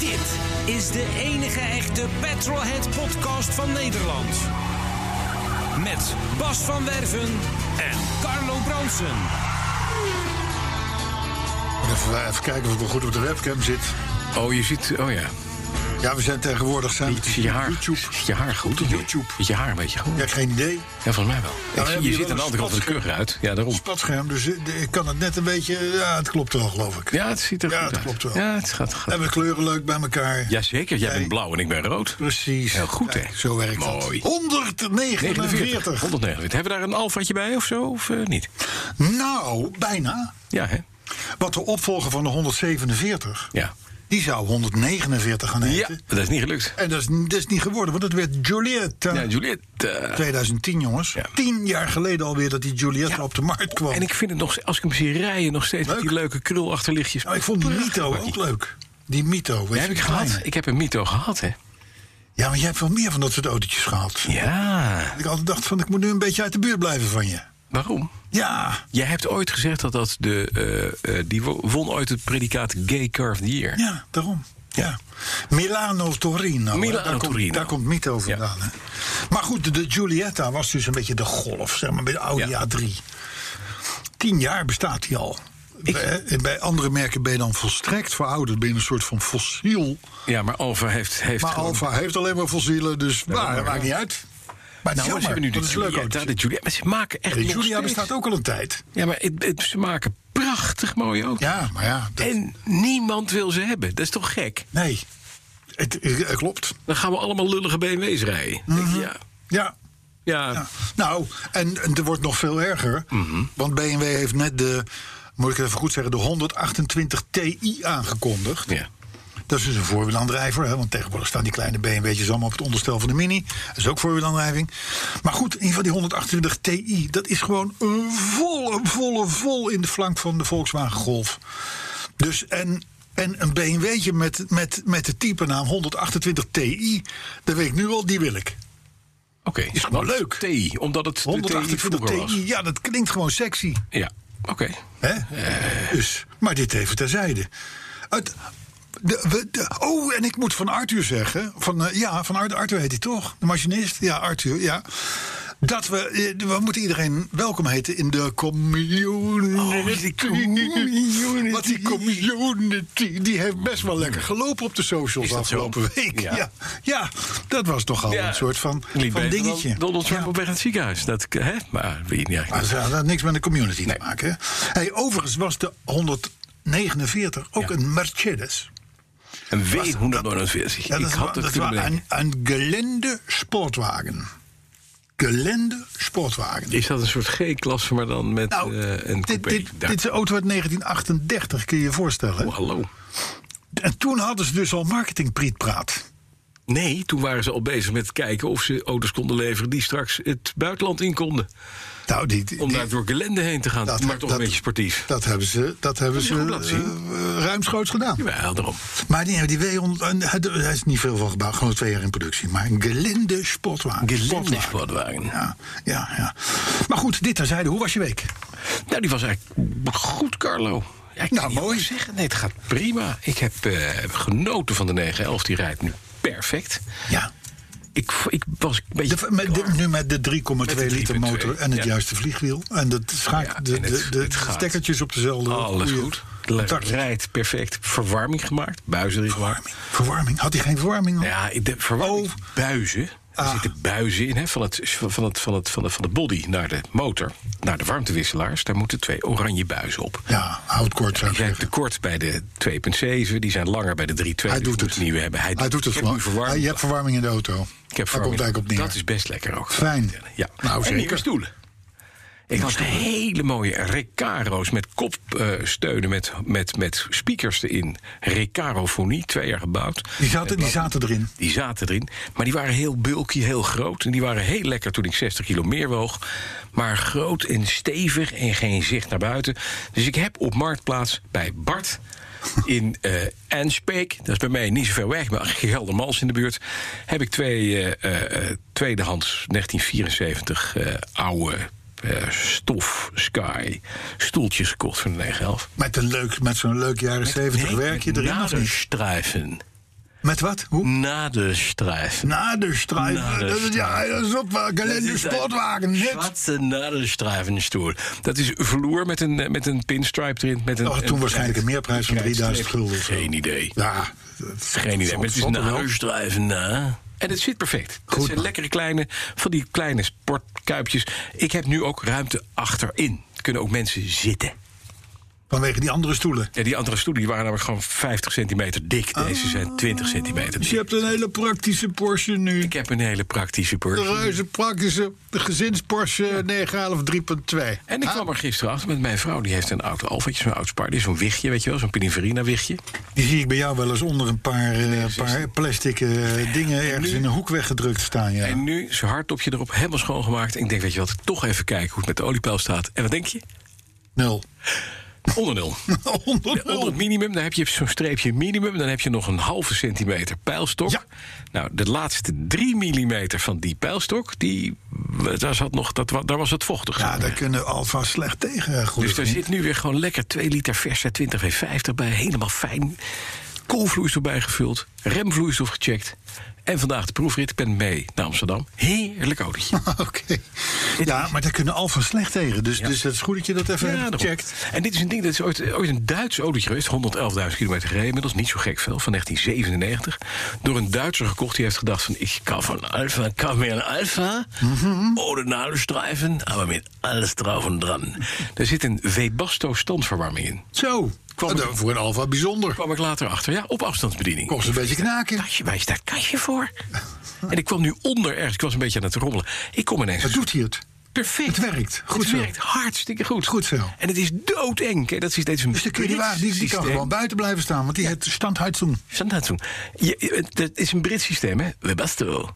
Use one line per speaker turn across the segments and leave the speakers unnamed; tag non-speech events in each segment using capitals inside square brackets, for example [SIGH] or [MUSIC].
Dit is de enige echte Petrolhead podcast van Nederland. Met Bas van Werven en Carlo Bronsen.
Even, eh, even kijken of ik nog goed op de webcam zit.
Oh, je ziet. Oh ja.
Ja, we zijn tegenwoordig zijn we
Ziet je haar,
YouTube.
ziet je haar goed? of niet?
YouTube.
Ziet je haar een beetje goed?
Ja, geen idee.
Ja, volgens mij wel.
we
Ik zie-
hebben
je
hier
ziet
wel
aan de
een
andere kant de
spatscherm.
keur uit. Ja, daarom.
Spatscherm, dus eh, ik kan het net een beetje... Ja, het klopt wel, geloof ik.
Ja, het ziet er
Ja, dat
goed uit.
klopt wel.
Ja, het gaat goed.
Hebben de kleuren leuk bij elkaar.
Jazeker, jij
Nee.
bent blauw en ik ben rood.
Precies.
Heel goed,
Kijk,
hè?
Zo werkt
Mooi.
dat. 149.
149. Hebben we daar een alfaatje bij of zo? Of eh, niet?
Nou, bijna.
Ja, hè?
Wat de opvolger van de 147...
Ja.
die zou 149 gaan
Ja,
heten.
dat is niet gelukt.
En dat is, dat is niet geworden, want het werd Juliette.
Ja, Juliette. eh,
2010, jongens.
Ja.
Tien jaar geleden alweer dat die Juliette
Ja.
op de markt kwam.
en ik vind het nog, als ik hem zie rijden, nog steeds met
Leuk.
die leuke krul achterlichtjes.
Nou, ik vond Mito
Prachtig.
ook leuk. Die Mito. Weet
Die
je,
heb ik
die
gehad.
kleine.
Ik heb een Mito gehad, hè?
Ja, maar jij hebt wel meer van dat soort autootjes gehad.
Ja.
Ik altijd dacht van, ik moet nu een beetje uit de buurt blijven van je.
Waarom?
Ja,
Jij hebt ooit gezegd dat dat de. eh, eh, die wo- won ooit het predicaat Gay Car of the Year.
ja, daarom. Ja. Milano Torino. hè,
Milano
daar komt,
Torino.
Daar komt Mito vandaan. Hè. Maar goed, de, de Giulietta was dus een beetje de golf, zeg maar, bij de Audi
Ja.
A3. Tien jaar bestaat die al. Bij, bij andere merken ben je dan volstrekt verouderd. Ben je een soort van fossiel.
Ja, maar Alfa heeft. heeft
Maar
gewoon-
Alfa heeft alleen maar fossielen, dus nou, dat maakt niet uit. Maar nou,
Nou, ze hebben nu de
dat is leuk ook.
Julietta, de Julietta. Maar ze maken echt.
De
nog
Julia
steeds-
bestaat ook al een tijd.
Ja, maar het, het- ze maken prachtig mooie auto's.
Ja, maar ja. dat-
En niemand wil ze hebben. Dat is toch gek?
nee, het, eh, klopt.
Dan gaan we allemaal lullige BMW's rijden. Denk je, ja,
Ja.
ja,
Mhm. ja. Nou, en, en er wordt nog veel erger. Want BMW heeft net de, moet ik het even goed zeggen, de 128 Ti aangekondigd.
Ja.
Dat is dus een voorwielaandrijver, hè, want tegenwoordig staan die kleine BMW'tjes allemaal op het onderstel van de Mini. Dat is ook voorwielaandrijving. Maar goed, in ieder geval die 128 Ti, dat is gewoon een volle, volle, vol in de flank van de Volkswagen Golf. Dus en, en een BMW'tje met, met, met de typenaam 128 Ti, dat weet ik nu al, die wil ik.
Oké.
Is gewoon
Want
leuk.
TI, omdat het de TI
128
vroeger was.
Ti, ja, dat klinkt gewoon sexy.
Ja, oké.
Hè? Dus, maar dit even terzijde. Het, de, we, de- oh, en ik moet van Arthur zeggen. Van, eh, ja, van Arthur, Arthur heet hij toch? De machinist? Ja, Arthur, ja. Dat we, eh, we moeten iedereen welkom heten in de community. Want die community, die heeft best wel lekker gelopen op de socials
Is dat zo?
afgelopen week.
Ja.
Ja. Ja, dat was nogal
Ja,
een soort van,
Liep
van
beter dan
dingetje.
Donald Trump
Ja.
op weg naar het ziekenhuis. Dat, eh, hè? Maar wie, ja,
Maar Ah, dat had niks met de community te maken. hè? Hey, overigens was de 149 ook
Ja.
een Mercedes.
Een W149.
Ja,
ik
is
had
wa-
het
dat
kunnen
was
bedenken.
een, een gelende sportwagen. Gelende sportwagen.
Is dat een soort G-klasse, maar dan met
nou,
eh, een
dit,
coupé?
dit,
Daar.
dit is een auto uit 1938, kun je je voorstellen.
Oh, hallo.
En toen hadden ze dus al marketingprietpraat.
Nee, toen waren ze al bezig met kijken of ze auto's konden leveren... die straks het buitenland in konden.
Nou, die, die-
Om
die-
daar door gelende heen te gaan. maar toch een beetje sportief.
Dat hebben ze, dat hebben
is
ze
goed laten zien.
eh, ruimschoots gedaan.
Jawel, daarom.
Maar die, die W100, en hij- hij is niet veel van gebouwd, gewoon twee jaar in productie. Maar een gelinde sportwagen.
Gelende
Sportwagen.
sportwagen.
Ja, ja, ja. Maar goed, dit terzijde, hoe was je week?
Nou, die was eigenlijk goed, Carlo. Ja, ik kan
Nou,
niet
mooi.
anders zeggen. Nee, het gaat prima. Ik heb eh, genoten van de 911. Die rijdt nu perfect.
Ja.
Ik, vo- ik was een beetje...
De, met, de- nu met de 3,2
Met de
liter
3,2,
motor en het
ja.
juiste vliegwiel. En dat schaak,
Ja,
de,
en het-
de, de
het gaat.
stekkertjes op dezelfde.
Alles
goede
goed.
contacten.
Rijdt perfect. Verwarming gemaakt. Buizen erin gemaakt.
Verwarming. Had hij geen verwarming?
Ja, ik- de verwarming.
Oh.
Buizen. Daar zitten buizen in, hè, van, het, van, het, van, het, van, de, van de body naar de motor, naar de warmtewisselaars. Daar moeten twee oranje buizen op.
Ja, houd kort zou
Die
ik
zijn te
zeggen.
kort bij de 2.7, die zijn langer bij de 3.2.
Hij
dus
doet
we
het.
moeten Nieuwe hebben. Hij,
Hij doet het
Ik heb nu
gewoon. Hij-
verwarming.
Je hebt verwarming in de auto.
Ik heb
Daar komt
verwarming.
eigenlijk op neer.
Dat is best lekker ook.
Fijn.
Ja,
Nou,
en nieuwe
zeker.
stoelen. Ik had hele mooie Recaro's met kopsteunen, met, met, met speakers erin. Recarofonie, twee jaar gebouwd.
Die zaten, die zaten erin.
Die zaten erin, maar die waren heel bulky, heel groot. En die waren heel lekker toen ik 60 kilo meer woog. Maar groot en stevig en geen zicht naar buiten. Dus ik heb op Marktplaats bij Bart in eh Enschpeek... dat is bij mij niet zo ver weg, maar [LAUGHS] Geldermals in de buurt... heb ik twee eh, eh, eh, tweedehands 1974 eh, oude eh, stof Sky stoeltjes gekocht van de 911.
Met, een leuk, met zo'n leuk jaren zeventig werkje
Met
erin, of niet?
Naderstrijven.
Met wat? Hoe?
Naderstrijven.
Naderstrijven. Dat is- Ja, dat is op eh,
Dat
Galende
is een
Sportwagen. Net.
Zwarte nadelstrijvenstoel. Dat is vloer met een, eh, met een pinstripe erin. Met een,
Oh, toen
een
waarschijnlijk een meerprijs van 3000 gulden. of zo.
Geen idee.
Ja,
Geen idee. Maar het is
Vond er wel.
nadelstrijven na. eh. En het zit perfect.
Goed,
het zijn
man.
lekkere kleine, van die kleine sportkuipjes. Ik heb nu ook ruimte achterin. Er kunnen ook mensen zitten.
vanwege die andere stoelen.
Ja, die andere stoelen die waren namelijk gewoon 50 centimeter dik. Deze
Ah.
zijn 20 centimeter
Dus je
dik.
hebt een hele praktische Porsche nu.
Ik heb een hele praktische
De
Porsche.
reuze praktische de gezins Porsche 911 3.2.
En ik
Ah,
kwam er gisteren achter met mijn vrouw. Die heeft een oud alfatje, zo'n oud spaar. Die is zo'n wichtje, weet je wel. Zo'n Pininfarina-wichtje.
Die zie ik bij jou wel eens onder een paar, eh, paar plastic eh, dingen ergens in een hoek weggedrukt staan. Ja.
En nu zijn hartopje erop, helemaal schoongemaakt. En ik denk, weet je wat, toch even kijken hoe het met de oliepeil staat. En wat denk je?
Nul. [LAUGHS]
Onder nul.
onder
Onder het minimum, dan heb je zo'n streepje minimum. Dan heb je nog een halve centimeter pijlstok.
Ja.
Nou, de laatste drie millimeter van die pijlstok... Die, daar, zat nog, dat, wa- daar was het vochtig.
Ja, daar kunnen Alfa slecht tegen. eh, Goed
dus daar zit nu weer gewoon lekker 2 liter verse 20V50 bij. Helemaal fijn. Koelvloeistof bijgevuld. Remvloeistof gecheckt. En vandaag de proefrit. Ik ben mee naar Amsterdam. Heerlijk autootje.
[LAUGHS] Oké. Ja, maar daar kunnen Alfa slecht tegen. Dus, dus het is goed dat je dat even
Ja,
hebt
daarom.
gecheckt.
En dit is een ding, dat is ooit, ooit een Duits autootje geweest. 111.000 kilometer gereden, inmiddels niet zo gek veel, van 1997. Door een Duitser gekocht, die heeft gedacht van... ik kan van Alfa, kan meer een Alfa, ohne Nadelstreifen... maar met alles drauf en dran. Daar zit een Webasto standverwarming in.
Zo.
Kwam
Nou, voor een Alfa bijzonder.
Kwam ik later achter, ja, op afstandsbediening.
Kost een beetje knaken.
Kastje, waar is dat kastje voor? En ik kwam nu onder ergens, ik was een beetje aan het rommelen. Ik kom ineens
Wat doet hij het?
Perfect.
Het werkt. Goed
het
zo.
werkt hartstikke goed.
Goed zo.
En het is doodeng. Kijk, dat is steeds een
Dus dan kun je die wagen, die, die kan gewoon buiten blijven staan. Want die heeft standhuid doen.
Standaard doen. Je- je- Dat is een Brits systeem, hè? We basto.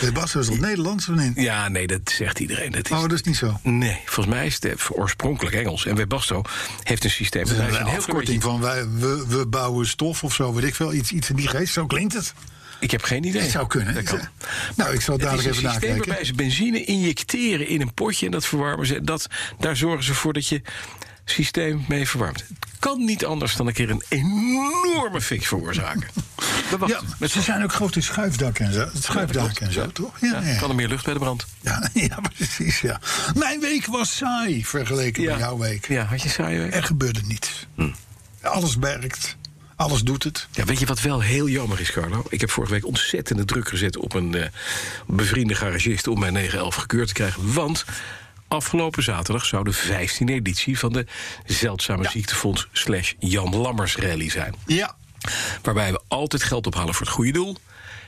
De Bas is al Nederlands van in.
Ja, nee, dat zegt iedereen. Dat is...
Oh, dat is niet zo.
Nee, volgens mij is het eh, oorspronkelijk Engels. En Webasto heeft een systeem.
Dat
Daar
Dus is
is
een
heel klein
afkorting van wij, we, we bouwen stof of zo, weet ik veel. Iets, iets in die geest, zo klinkt het.
beetje- Ik heb geen idee.
Het zou kunnen.
Dat kan.
Nou, ik zal
Het is
dadelijk
een
even
systeem
nakijken.
waarbij ze benzine injecteren in een potje en dat verwarmen ze. Dat, daar zorgen ze voor dat je systeem mee verwarmt. Het kan niet anders dan een keer een enorme fik [LAUGHS] veroorzaken. We
Ja,
wachten. Met
ze zijn ook groot in schuifdak en zo. Het schuifdak en zo, toch? Ja, ja,
Kan er meer lucht bij de brand?
ja, [LAUGHS] ja, precies, ja. Mijn week was saai vergeleken met jouw week.
Ja, had je saai
Er gebeurde niets. Alles werkt. Alles doet het.
Ja, weet je wat wel heel jammer is, Carlo? Ik heb vorige week ontzettende druk gezet op een eh, bevriende garagist om mijn 911 gekeurd te krijgen. Want afgelopen zaterdag zou de 15e editie van de Zeldzame Ziektefonds slash Jan Lammers rally zijn.
Ja.
Waarbij we altijd geld ophalen voor het goede doel.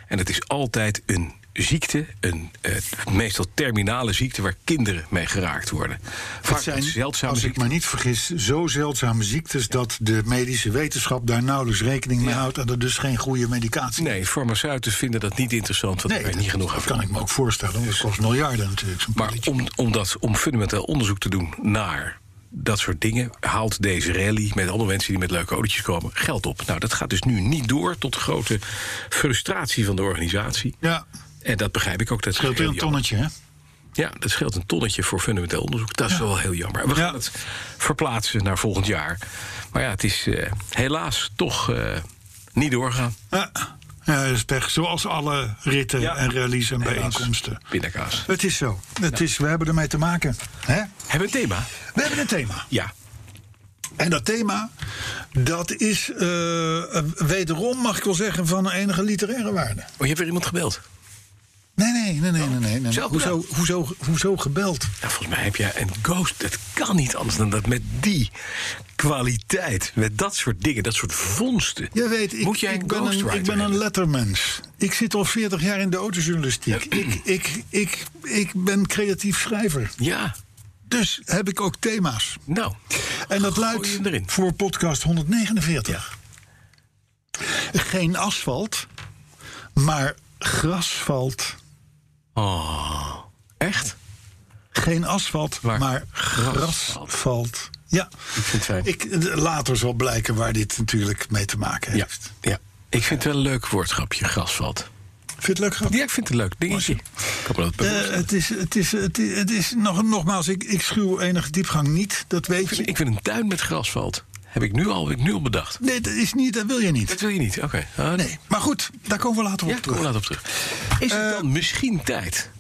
En het is altijd een ziekte, een eh, meestal terminale ziekte waar kinderen mee geraakt worden. Vaak
Het zijn,
zeldzame
als ik
ziekten.
me niet vergis, zo zeldzame ziektes... dat de medische wetenschap daar nauwelijks rekening mee houdt... en er dus geen goede medicatie
Nee, farmaceuten vinden dat niet interessant, want
dat
daar ben je niet genoeg aan
dat kan ik me ook voorstellen. want Dat kost miljarden natuurlijk, zo'n
Maar
pilletje.
om, om, dat, om fundamenteel onderzoek te doen naar dat soort dingen... haalt deze rally met andere mensen die met leuke autootjes komen geld op. Nou, dat gaat dus nu niet door tot grote frustratie van de organisatie.
Ja,
En dat begrijp ik ook. Dat is
scheelt weer
heel
een tonnetje, hè?
jammer. Ja, dat scheelt een tonnetje voor fundamenteel onderzoek. Dat is wel heel jammer.
Ja.
We gaan het verplaatsen naar volgend jaar. Maar ja, het is eh, helaas toch eh, niet doorgaan.
Ja, ja, dat is pech. Zoals alle ritten
Ja.
en rallies en bijeenkomsten.
Pindakaas.
Het is zo. Het is, we hebben ermee te maken. Hè?
Hebben we een thema?
We hebben een thema.
Ja. Oh,
En dat thema, dat is eh, eh, wederom, mag ik wel zeggen, van enige literaire waarde.
Oh, je hebt weer iemand gebeld.
Nee, nee, nee, nee, nee. nee, nee.
zelf
Hoezo, hoezo, hoezo gebeld?
Ja, volgens mij heb jij een ghost. Het kan niet anders dan dat met die kwaliteit, met dat soort dingen, dat soort vondsten.
Je weet, ik,
moet jij
ik,
een
ben, een,
ghostwriter
ik ben een
hebben.
lettermens. Ik zit al 40 jaar in de autojournalistiek. ik, ik, ik, ik ben creatief schrijver.
Ja,
Dus heb ik ook thema's.
nou.
En dat
Gooi
luidt
hem erin.
voor podcast 149. Geen asfalt, maar grasvalt.
Oh, echt?
Geen asfalt,
Maar
maar,
grasvalt.
grasvalt. Ja,
Ik vind het fijn.
ik, later zal blijken waar dit natuurlijk mee te maken
Ja,
heeft.
ja. Ik vind het wel een leuk woordgrapje, grasvalt.
Vind je het leuk grap?
Ja, ik vind het een leuk dingetje. Ik hoop dat het
Eh,
bewust is.
het is, het is, het is, het is nog, nogmaals, ik, ik schuw enige diepgang niet, dat weet je.
Ik vind een tuin met grasvalt. Heb ik nu al, heb ik nu al bedacht.
Nee, dat is niet, dat wil je
Dat
niet.
wil je niet, oké. Ah,
Nee, maar goed, daar komen we later
Ja,
op
kom
terug.
later op terug. Is het dan misschien tijd?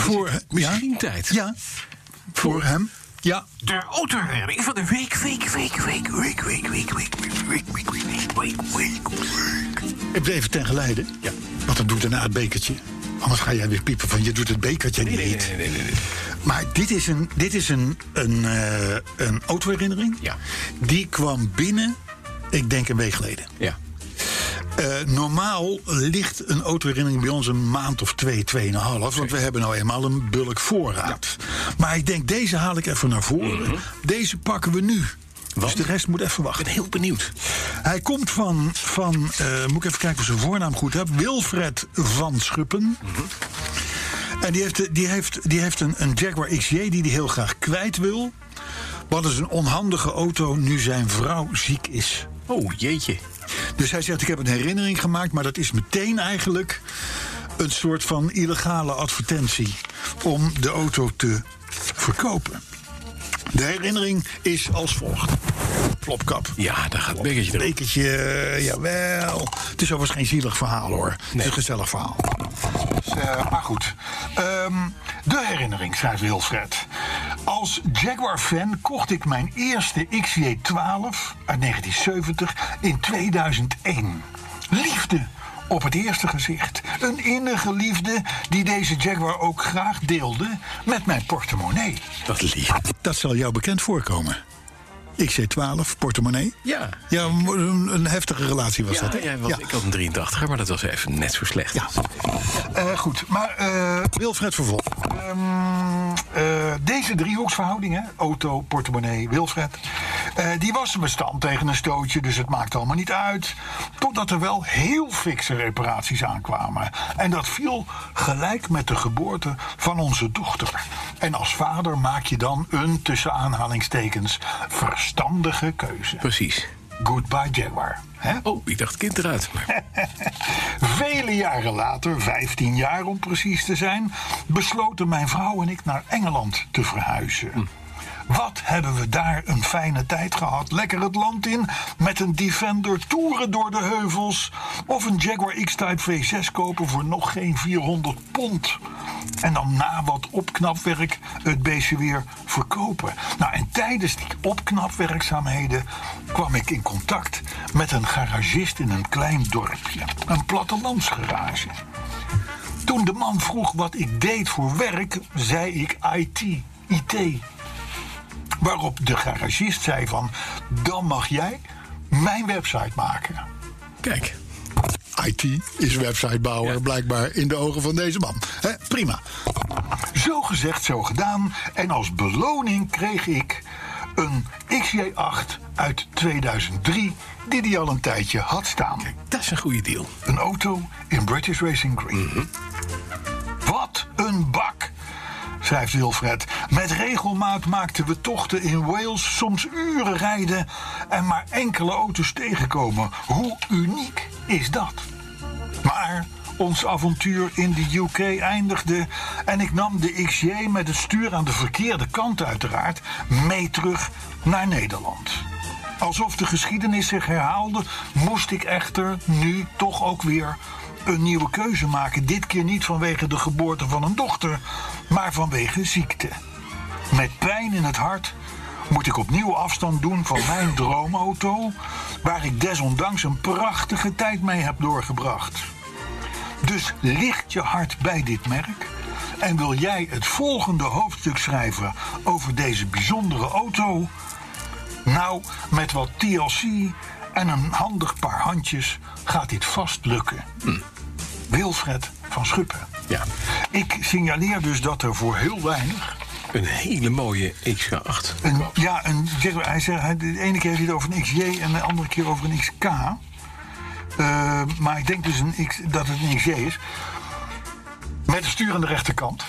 Voor,
Misschien
ja,
tijd.
Ja, voor hem. Ja,
De autoherinnering van de week, week, week, week, week, week, week, week, week, week, week, week, week, week, week.
ik bleef het ten geleide.
Ja.
Want dan doe daarna het bekertje. Anders ga jij weer piepen van je doet het bekertje
Nee,
niet.
nee, nee, nee, nee, nee.
Maar dit is een, dit is een, een, eh, een autoherinnering.
Ja.
Die kwam binnen, ik denk een week geleden.
Ja.
Eh, normaal ligt een autoherinnering bij ons een maand of twee, tweeënhalf. Want we hebben nou eenmaal een bulk voorraad. Maar ik denk, deze haal ik even naar voren. Deze pakken we nu. Dus de rest moet even
Mhm. Ik
wachten.
ben heel benieuwd.
Hij komt van, van eh, moet ik even kijken of ik zijn voornaam goed heb. Wilfred van Schuppen. En die heeft, die heeft, die heeft een, een Jaguar XJ die hij heel graag kwijt wil. Wat is een onhandige auto nu zijn vrouw ziek is.
Oh, jeetje.
Dus hij zegt, ik heb een herinnering gemaakt, maar dat is meteen eigenlijk een soort van illegale advertentie om de auto te verkopen. De herinnering is als volgt. Plopkap.
Ja, daar gaat een beetje erop.
Bekertje, eh, jawel. Het is overigens geen zielig verhaal hoor. Het is een gezellig verhaal. Dus, eh, maar goed. Ehm, de herinnering, schrijft Wilfred. Als Jaguar-fan kocht ik mijn eerste XJ12 uit 1970 in 2001. Liefde op het eerste gezicht. Een innige liefde die deze Jaguar ook graag deelde met mijn portemonnee.
Dat lief.
Dat zal jou bekend voorkomen. XJ12, portemonnee.
Ja.
Ja, een, een heftige relatie was
Ja,
dat. hè?
ja, want
Ja.
ik had een 83, maar dat was even net zo slecht.
Ja. Eh, goed, maar eh, Wilfred vervolgt. Ehm, eh, deze driehoeksverhouding, hè, auto, portemonnee, Wilfred... eh, die was bestand tegen een stootje, dus het maakt allemaal niet uit. Totdat er wel heel fikse reparaties aankwamen. En dat viel gelijk met de geboorte van onze dochter. En als vader maak je dan een, tussen aanhalingstekens, verstandige keuze.
Precies.
Goodbye Jaguar. Hè?
Oh, ik dacht kind eruit.
[LAUGHS]
Maar
Vele jaren later, 15 jaar om precies te zijn, besloten mijn vrouw en ik naar Engeland te verhuizen. Wat hebben we daar een fijne tijd gehad? Lekker het land in met een Defender toeren door de heuvels. Of een Jaguar X-Type V6 kopen voor nog geen 400 pond. En dan na wat opknapwerk het beestje weer verkopen. Nou, en tijdens die opknapwerkzaamheden kwam ik in contact met een garagist in een klein dorpje. Een plattelandsgarage. Toen de man vroeg wat ik deed voor werk, zei ik IT. IT. Waarop de garagist zei van, dan mag jij mijn website maken.
kijk.
IT is websitebouwer,
Ja.
blijkbaar in de ogen van deze man. Hè, prima. Zo gezegd, zo gedaan. En als beloning kreeg ik een XJ8 uit 2003, die die al een tijdje had staan.
Dat is een goede deal.
Een auto in British Racing Green.
Mhm.
Wat een bak! Schrijft Wilfred. Met regelmaat maakten we tochten in Wales, soms uren rijden en maar enkele auto's tegenkomen. Hoe uniek is dat? Maar ons avontuur in de UK eindigde en ik nam de XJ met het stuur aan de verkeerde kant uiteraard mee terug naar Nederland. Alsof de geschiedenis zich herhaalde, moest ik echter nu toch ook weer een nieuwe keuze maken. Dit keer niet vanwege de geboorte van een dochter, maar vanwege ziekte. Met pijn in het hart moet ik opnieuw afstand doen van mijn droomauto, waar ik desondanks een prachtige tijd mee heb doorgebracht. Dus ligt je hart bij dit merk? En wil jij het volgende hoofdstuk schrijven over deze bijzondere auto? Nou, met wat TLC en een handig paar handjes gaat dit vast lukken. Wilfred van Schuppen.
Ja.
Ik signaleer dus dat er voor heel weinig.
Een hele mooie XK8.
Een, ja, een, zeg maar, hij zegt, hij- de ene keer heeft hij het over een XJ en de andere keer over een XK. Eh, maar ik denk dus een X, dat het een XJ is. Met een stuur aan de rechterkant.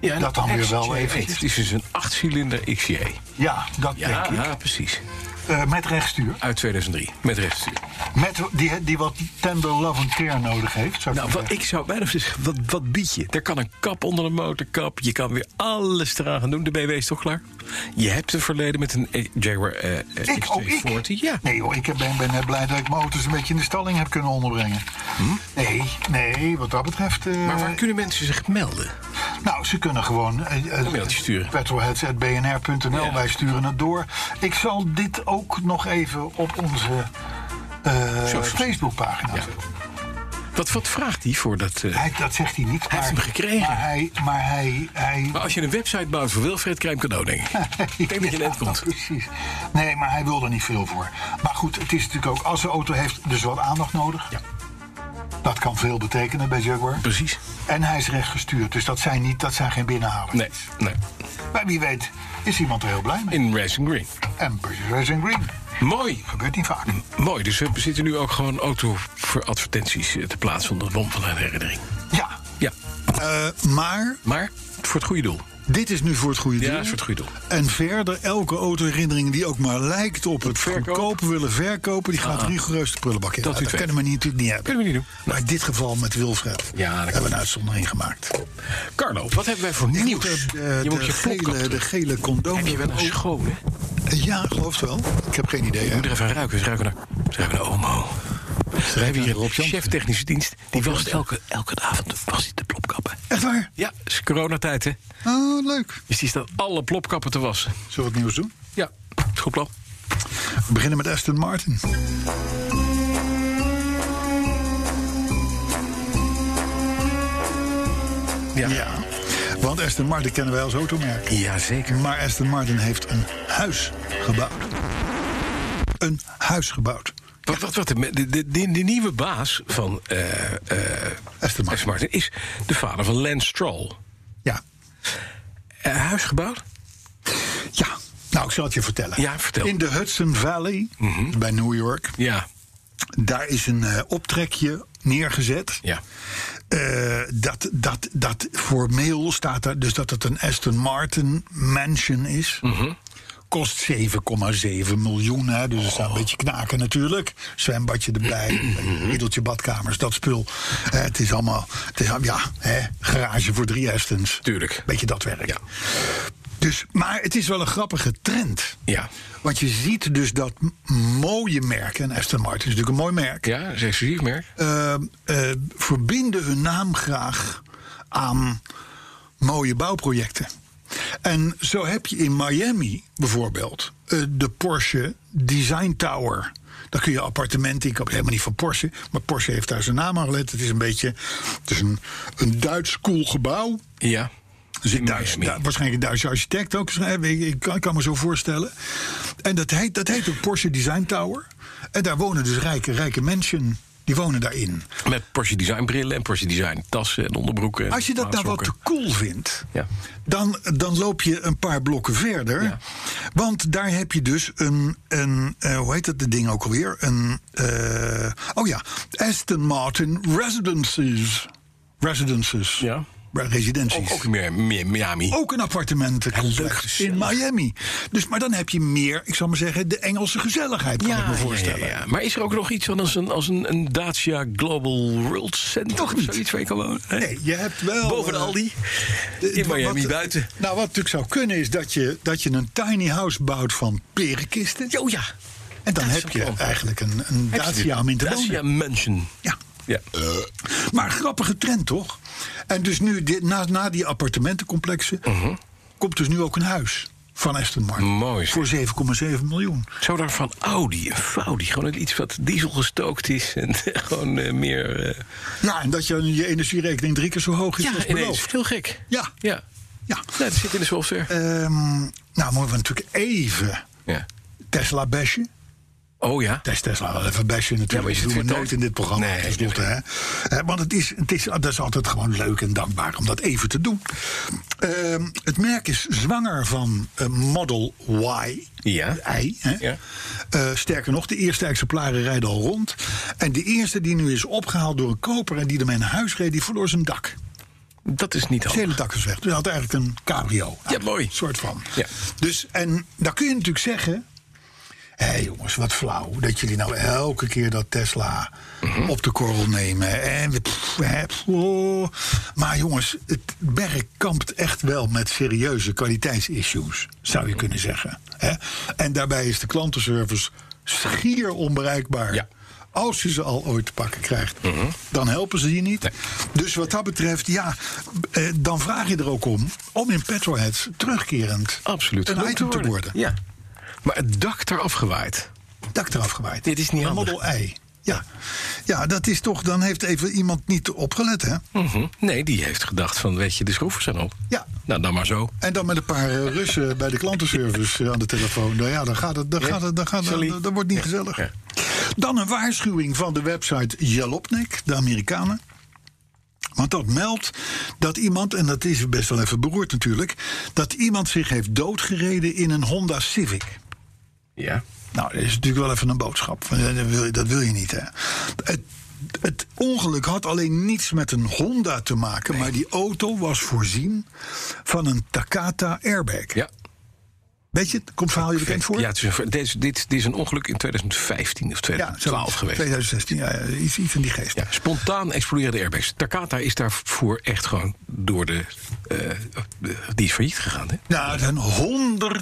Ja,
dat dan weer wel
even.
eventjes.
Het is dus een 8-cilinder XJ.
Ja, dat
Ja,
denk ik.
ja, precies.
Eh, met rechtstuur.
Uit 2003, met rechtsstuur.
Met, die, die wat tender love and care nodig heeft. Zou ik maar
Nou, wat,
zeggen.
ik zou bijna zeggen, wat, wat bied je? Er kan een kap onder een motorkap. Je kan weer alles eraan gaan doen. De BW is toch klaar? Je hebt een verleden met een eh, Jaguar eh eh,
Ik, oh, ik?
XJ40. Ja.
Nee joh, ik ben, ben net blij dat ik mijn auto's een beetje in de stalling heb kunnen onderbrengen.
Hm?
Nee, nee, wat dat betreft... eh,
Maar waar kunnen mensen zich melden?
Nou, ze kunnen gewoon... eh, eh,
Een mailtje sturen.
petrolheads@bnr.nl,
Ja.
wij sturen het door. Ik zal dit ook nog even op onze eh,
Socials.
Facebookpagina
Ja.
zetten.
Wat, wat vraagt hij voor dat... eh,
Hij, dat zegt hij niet.
Hij heeft
maar-
hem gekregen.
Maar hij... Maar hij, hij [LAUGHS]
maar als je een website bouwt voor Wilfred, krijg je een cadeau, denk ik. Ik denk dat je
Ja,
net komt.
Precies. Nee, maar hij wil er niet veel voor. Maar goed, het is natuurlijk ook... Als een auto heeft dus wat aandacht nodig.
Ja.
Dat kan veel betekenen bij Jaguar.
Precies.
En hij is rechtgestuurd, dus dat zijn, niet, dat zijn geen binnenhalers.
Nee, nee.
Maar wie weet is iemand er heel blij mee.
In Racing Green.
En British Racing Green.
Mooi.
Gebeurt niet vaak.
Mooi, dus we zitten nu ook gewoon auto voor advertenties eh, te plaatsen onder het bom van een herinnering.
Ja. Eh,
Ja,
maar
maar voor het goede doel.
dit is nu voor het goede
Ja, is voor het goede doel.
En verder, elke autoherinnering die ook maar lijkt op het
verkoop. Ah.
goedkopen willen verkopen... die gaat rigoureus de prullenbak in.
Dat u
Nou,
het weet.
kunnen we niet- natuurlijk niet hebben.
Kunnen we niet doen.
Maar in dit geval met Wilfred
Ja, dat
hebben we een uitzondering gemaakt.
Carlo, wat hebben wij voor
Ik
nieuws?
moet, eh,
je moet
de,
je plopkap
gele, de
doen.
gele condoom... Oh, eh,
Heb je wel een schoon, hè? Ik
Ja, geloof het wel. Ik heb geen idee. hè.
moet er even aan ruiken. Ze ruiken naar, ze ruiken naar Omo. We hebben
naar
hier een
Rob Jansen.
chef technische dienst. Die was
Jansen.
elke, elke avond was hij de plopkappen.
Echt waar?
Ja, het is coronatijd, hè?
Oh, leuk.
Dus die staat alle plopkappen te wassen.
Zullen we wat nieuws doen?
Ja, is goed plan.
We beginnen met Aston Martin.
Ja.
Ja, want Aston Martin kennen wij als automerk.
Jazeker.
Maar Aston Martin heeft een huis gebouwd. Een huis gebouwd.
Wat, wat, wat, de, de, de, de nieuwe baas van eh eh,
Aston
Aston
Martin.
Martin is de vader van Lance Stroll.
Ja.
Eh, huisgebouw?
Ja. Nou, ik zal het je vertellen.
Ja, vertel.
In de Hudson Valley, bij New York,
Ja.
daar is een eh, optrekje neergezet.
ja.
Eh, dat, dat, dat formeel staat daar dus dat het een Aston Martin Mansion is.
Mhm.
Kost 7,7 miljoen. Hè, dus er staat
Oh.
een beetje knaken natuurlijk. Zwembadje erbij,
Mhm.
middeltje badkamers, dat spul. Eh, het is allemaal, het is, al- ja, hè, garage voor drie Astons.
Tuurlijk.
Beetje dat werk.
Ja.
Dus, maar het is wel een grappige trend.
Ja.
Want je ziet dus dat m- mooie merken, en Aston Martin is natuurlijk een mooi merk
Ja, dat is een exclusief merk.
eh, eh, verbinden hun naam graag aan mooie bouwprojecten. En zo heb je in Miami bijvoorbeeld eh, de Porsche Design Tower. Daar kun je appartementen in kopen. Helemaal niet van Porsche, maar Porsche heeft daar zijn naam aan gelet. Het is een beetje het is een, een Duits cool gebouw.
Ja.
Er zit
In
Duits,
Miami.
Du- waarschijnlijk een Duitse architect ook. Ik, ik kan, ik kan me zo voorstellen. En dat heet, dat heet ook Porsche Design Tower. En daar wonen dus rijke, rijke mensen. Die wonen daarin.
Met Porsche Design brillen en Porsche Design tassen en onderbroeken. en
Als je dat nou wat te
maatsokken.
cool vindt,
Ja.
dan, dan loop je een paar blokken verder.
Ja.
Want daar heb je dus een, een eh, hoe heet dat de ding ook alweer? Een, eh, oh ja, Aston Martin Residences. Residences.
Ja.
Re- Residenties.
Ook, ook meer, meer Miami.
Ook een
leuk
appartementencomplex
gezellig.
in Miami. Dus, maar dan heb je meer, ik zal maar zeggen, de Engelse gezelligheid, kan ik me voorstellen.
ja, ja. Maar is er ook nog iets van als een, als een, een Dacia Global World Center?
Toch
of
niet.
Zoiets waar je kan wonen?
Nee, je hebt wel...
Boven de
eh,
Aldi.
De-
in
wat-
Miami
wat-
buiten.
Nou, wat natuurlijk zou kunnen is dat je, dat je een tiny house bouwt van perenkisten.
Jo, ja.
En dan
dat
heb
zou
je
ook wel.
eigenlijk een, een
Heb je dit?
Dacia om in te
Dacia
wonen.
Mansion.
Ja.
Ja.
Maar grappige trend, toch? En dus nu, dit, na, na die appartementencomplexen, komt dus nu ook een huis. van Aston Martin.
Mhm. Mooi, zeg.
Voor 7,7 miljoen.
Zo daar van oh, Audi, een Faudi. Gewoon iets wat diesel gestookt is. En [LAUGHS] gewoon eh, meer... eh,
Ja, Nou, en dat je, je energierekening drie keer zo hoog is als
ja, ineens.
beloofd.
Heel gek.
Ja.
Ja.
Ja.
Nee, dat zit in de software.
Ehm, nou, moeten we natuurlijk even
ja.
Tesla bashen.
Oh ja.
Test Tesla wel even bashen natuurlijk.
Ja, maar
dat
je zit
doen we
weer
nooit
te-
in dit programma.
Nee,
tenslotte,
nee.
hè? Eh, Want het is, het is, dat is altijd gewoon leuk en dankbaar om dat even te doen. Ehm, het merk is zwanger van eh, Model Y.
Ja.
Y hè?
Ja.
Eh, sterker nog, de eerste exemplaren rijden al rond. En de eerste die nu is opgehaald door een koper... en die ermee naar huis reed, die verloor zijn dak.
Dat is niet
Het
handig.
hele dak is weg. Dus hij had eigenlijk een cabrio.
Oh. Ja, mooi.
soort van.
Ja.
Dus, en dan kun je natuurlijk zeggen... Hé jongens, wat flauw dat jullie nou elke keer dat Tesla
Mhm.
op de korrel nemen. En we, pff, hè, pff, oh. Maar jongens, het merk kampt echt wel met serieuze kwaliteitsissues, zou je kunnen zeggen. Hè? En daarbij is de klantenservice schier onbereikbaar.
Ja. Mhm.
Als je ze al ooit te pakken krijgt, dan helpen ze je niet. Dus wat dat betreft, ja, eh, dan vraag je er ook om om in Petroheads terugkerend
Absoluut.
een
genoemd
item te worden.
Ja. Maar het dak eraf gewaaid.
Dak eraf gewaaid.
Dit is niet
Een
handig.
Model I. Ja. ja, dat is toch, dan heeft even iemand niet opgelet, hè?
Mhm. Nee, die heeft gedacht van, weet je, de schroeven zijn op.
Ja.
Nou, dan maar zo.
En dan met een paar eh, Russen bij de klantenservice eh, aan de telefoon. Nou ja, dan gaat het, dan
Ja.
gaat het, dan gaat
Sorry.
het, dat wordt niet gezellig.
Ja.
Dan een waarschuwing van de website Jalopnik, de Amerikanen. Want dat meldt dat iemand, en dat is best wel even beroerd natuurlijk, dat iemand zich heeft doodgereden in een Honda Civic.
Ja.
Nou, dat is natuurlijk wel even een boodschap. Van, eh, Dat wil je, dat wil je niet, hè? Het, het ongeluk had alleen niets met een Honda te maken, maar die auto was voorzien van een Takata airbag.
Ja.
Weet je, komt het verhaal je bekend voor?
Ja, het is een- dit, is, dit, dit is een ongeluk in 2015 of
Ja, zo,
2012 geweest.
2016, ja, ja, iets, iets in die geest.
Ja, spontaan exploderen de airbags. Takata is daarvoor echt gewoon door de... eh, die is failliet gegaan, hè?
Nou, er zijn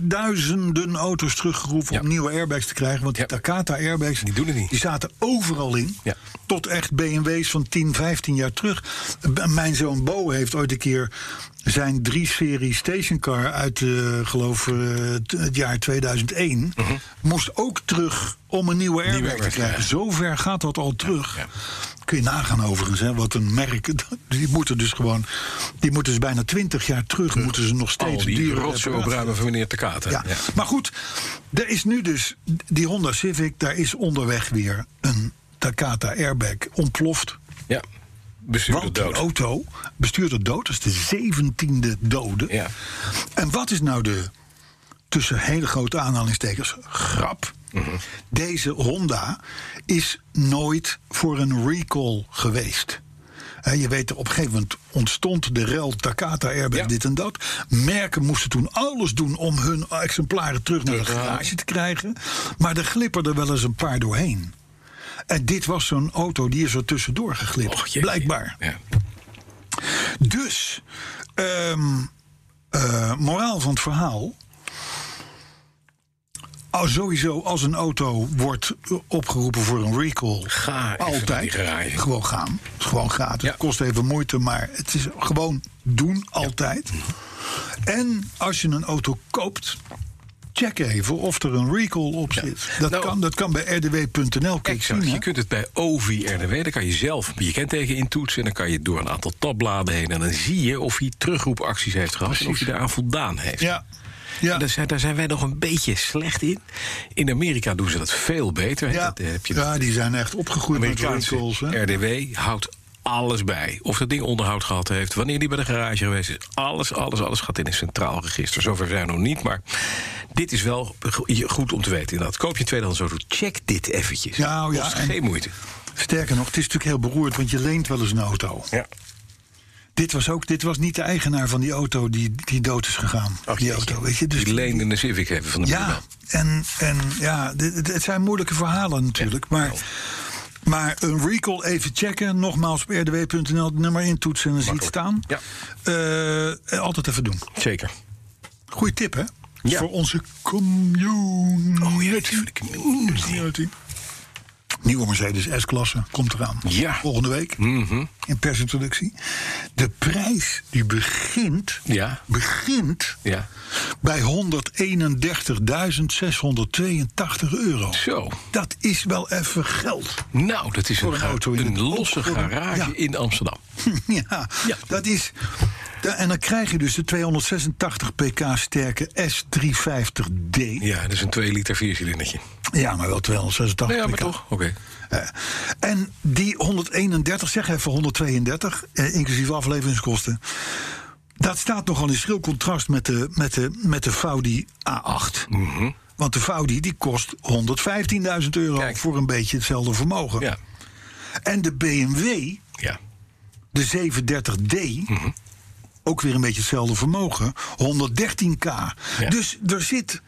honderdduizenden auto's teruggeroepen
Ja.
om nieuwe airbags te krijgen. Want die
Ja.
Takata airbags
Die doen het niet.
Die zaten overal in.
Ja.
Tot echt BMW's van 10, 15 jaar terug. B- Mijn zoon Bo heeft ooit een keer zijn 3-serie stationcar uit, eh, geloof eh, t- het jaar 2001. Moest ook terug om een nieuwe airbag
airbag,
te krijgen.
Mhm. ja.
Zover gaat dat al terug.
ja.
Kun je nagaan overigens, hè, wat een merk. [LAUGHS] Die moeten dus gewoon. Die moeten dus bijna 20 jaar terug. Moeten ze nog steeds
Al Oh, die
dure
rotzooi
reparaties-
opruimen van meneer Takata.
ja. Maar goed, er is nu dus die Honda Civic, daar is onderweg weer een Takata airbag ontploft.
ja. Bestuurder
Want die
dood.
auto, bestuurder dood, dat is de 17e dode.
Ja.
En wat is nou de, tussen hele grote aanhalingstekens, grap?
Mhm.
Deze Honda is nooit voor een recall geweest. Hè, je weet, op een gegeven moment ontstond de rel Takata Airbag
Ja.
dit en dat. Merken moesten toen alles doen om hun exemplaren terug naar de
Terug te halen.
garage te krijgen. Maar er glipperden wel eens een paar doorheen. En dit was zo'n auto die is er tussendoor geglipt,
Och, jee.
blijkbaar.
Ja.
Dus, ehm, eh, moraal van het verhaal. Als sowieso, als een auto wordt eh, opgeroepen voor een recall,
Ga even naar die
altijd
garage.
gewoon gaan. Het is gewoon gratis.
Ja.
Het kost even moeite, maar het is gewoon doen, altijd. En als je een auto koopt, check even of er een recall op zit. Dat,
Nou,
kan, dat kan bij rdw.nl. kun je het
Exact.
zien,
Je
hè?
kunt het bij OVRDW, daar kan je zelf je kenteken intoetsen... en dan kan je door een aantal tabbladen heen... en dan zie je of hij terugroepacties heeft gehad... en of hij daaraan voldaan heeft.
Ja. Ja.
En Daar, zijn, daar zijn wij nog een beetje slecht in. In Amerika doen ze dat veel beter. hè.
Ja.
Dat, eh, heb je
ja, die zijn echt opgegroeid met
Amerikaanse
recalls. Hè?
RDW houdt alles bij. Of dat ding onderhoud gehad heeft, wanneer die bij de garage geweest is. Alles, alles, alles gaat in een centraal register. Zover zijn we nog niet, maar dit is wel go- je- goed om te weten. Inderdaad. Koop je een tweedehands auto, check dit eventjes.
Ja, oh ja,
Kost
en-
geen moeite.
Sterker nog, het is natuurlijk heel beroerd, want je leent wel eens een auto.
Ja.
Dit was, ook, dit was niet de eigenaar van die auto die, die dood is gegaan. die auto, weet je. Dus
Oh, die leende een Civic even van de
ja,
buurman.
en, en ja, dit- dit- het zijn moeilijke verhalen natuurlijk. Maar, maar een recall even checken. Nogmaals op rdw.nl het nummer intoetsen en dan ziet het staan.
Ja.
Eh, altijd even doen.
Zeker.
Goeie tip, hè?
Ja.
Voor onze community.
Oh ja, natuurlijk.
Community. Nieuwe Mercedes S-klasse komt eraan.
Ja. Mhm.
Volgende week. In persintroductie. De prijs die begint,
Ja.
begint
Ja.
bij 131.682 euro.
Zo.
Dat is wel even geld. [LAUGHS]
Nou, dat is
Voor
een,
een
ga-
auto in
een
het
losse
opgerold.
garage
Ja.
in Amsterdam.
ja,
Ja.
dat is. da- En dan krijg je dus de 286 pk sterke S350D. Ja,
Ja, dat is een 2 liter viercilindertje.
maar wel 286
Nou Ja, maar
pk.
toch? Oké.
Eh, en die 131, zeg even 132, eh, inclusief afleveringskosten. Dat staat nogal in schril contrast met de, met de, met de Faudi A8.
Mhm.
Want de Faudi die kost 115.000 euro
Kijk.
voor een beetje hetzelfde vermogen.
Ja.
En de BMW,
Ja.
de 730D,
Mhm.
ook weer een beetje hetzelfde vermogen, 113k. Dus er zit,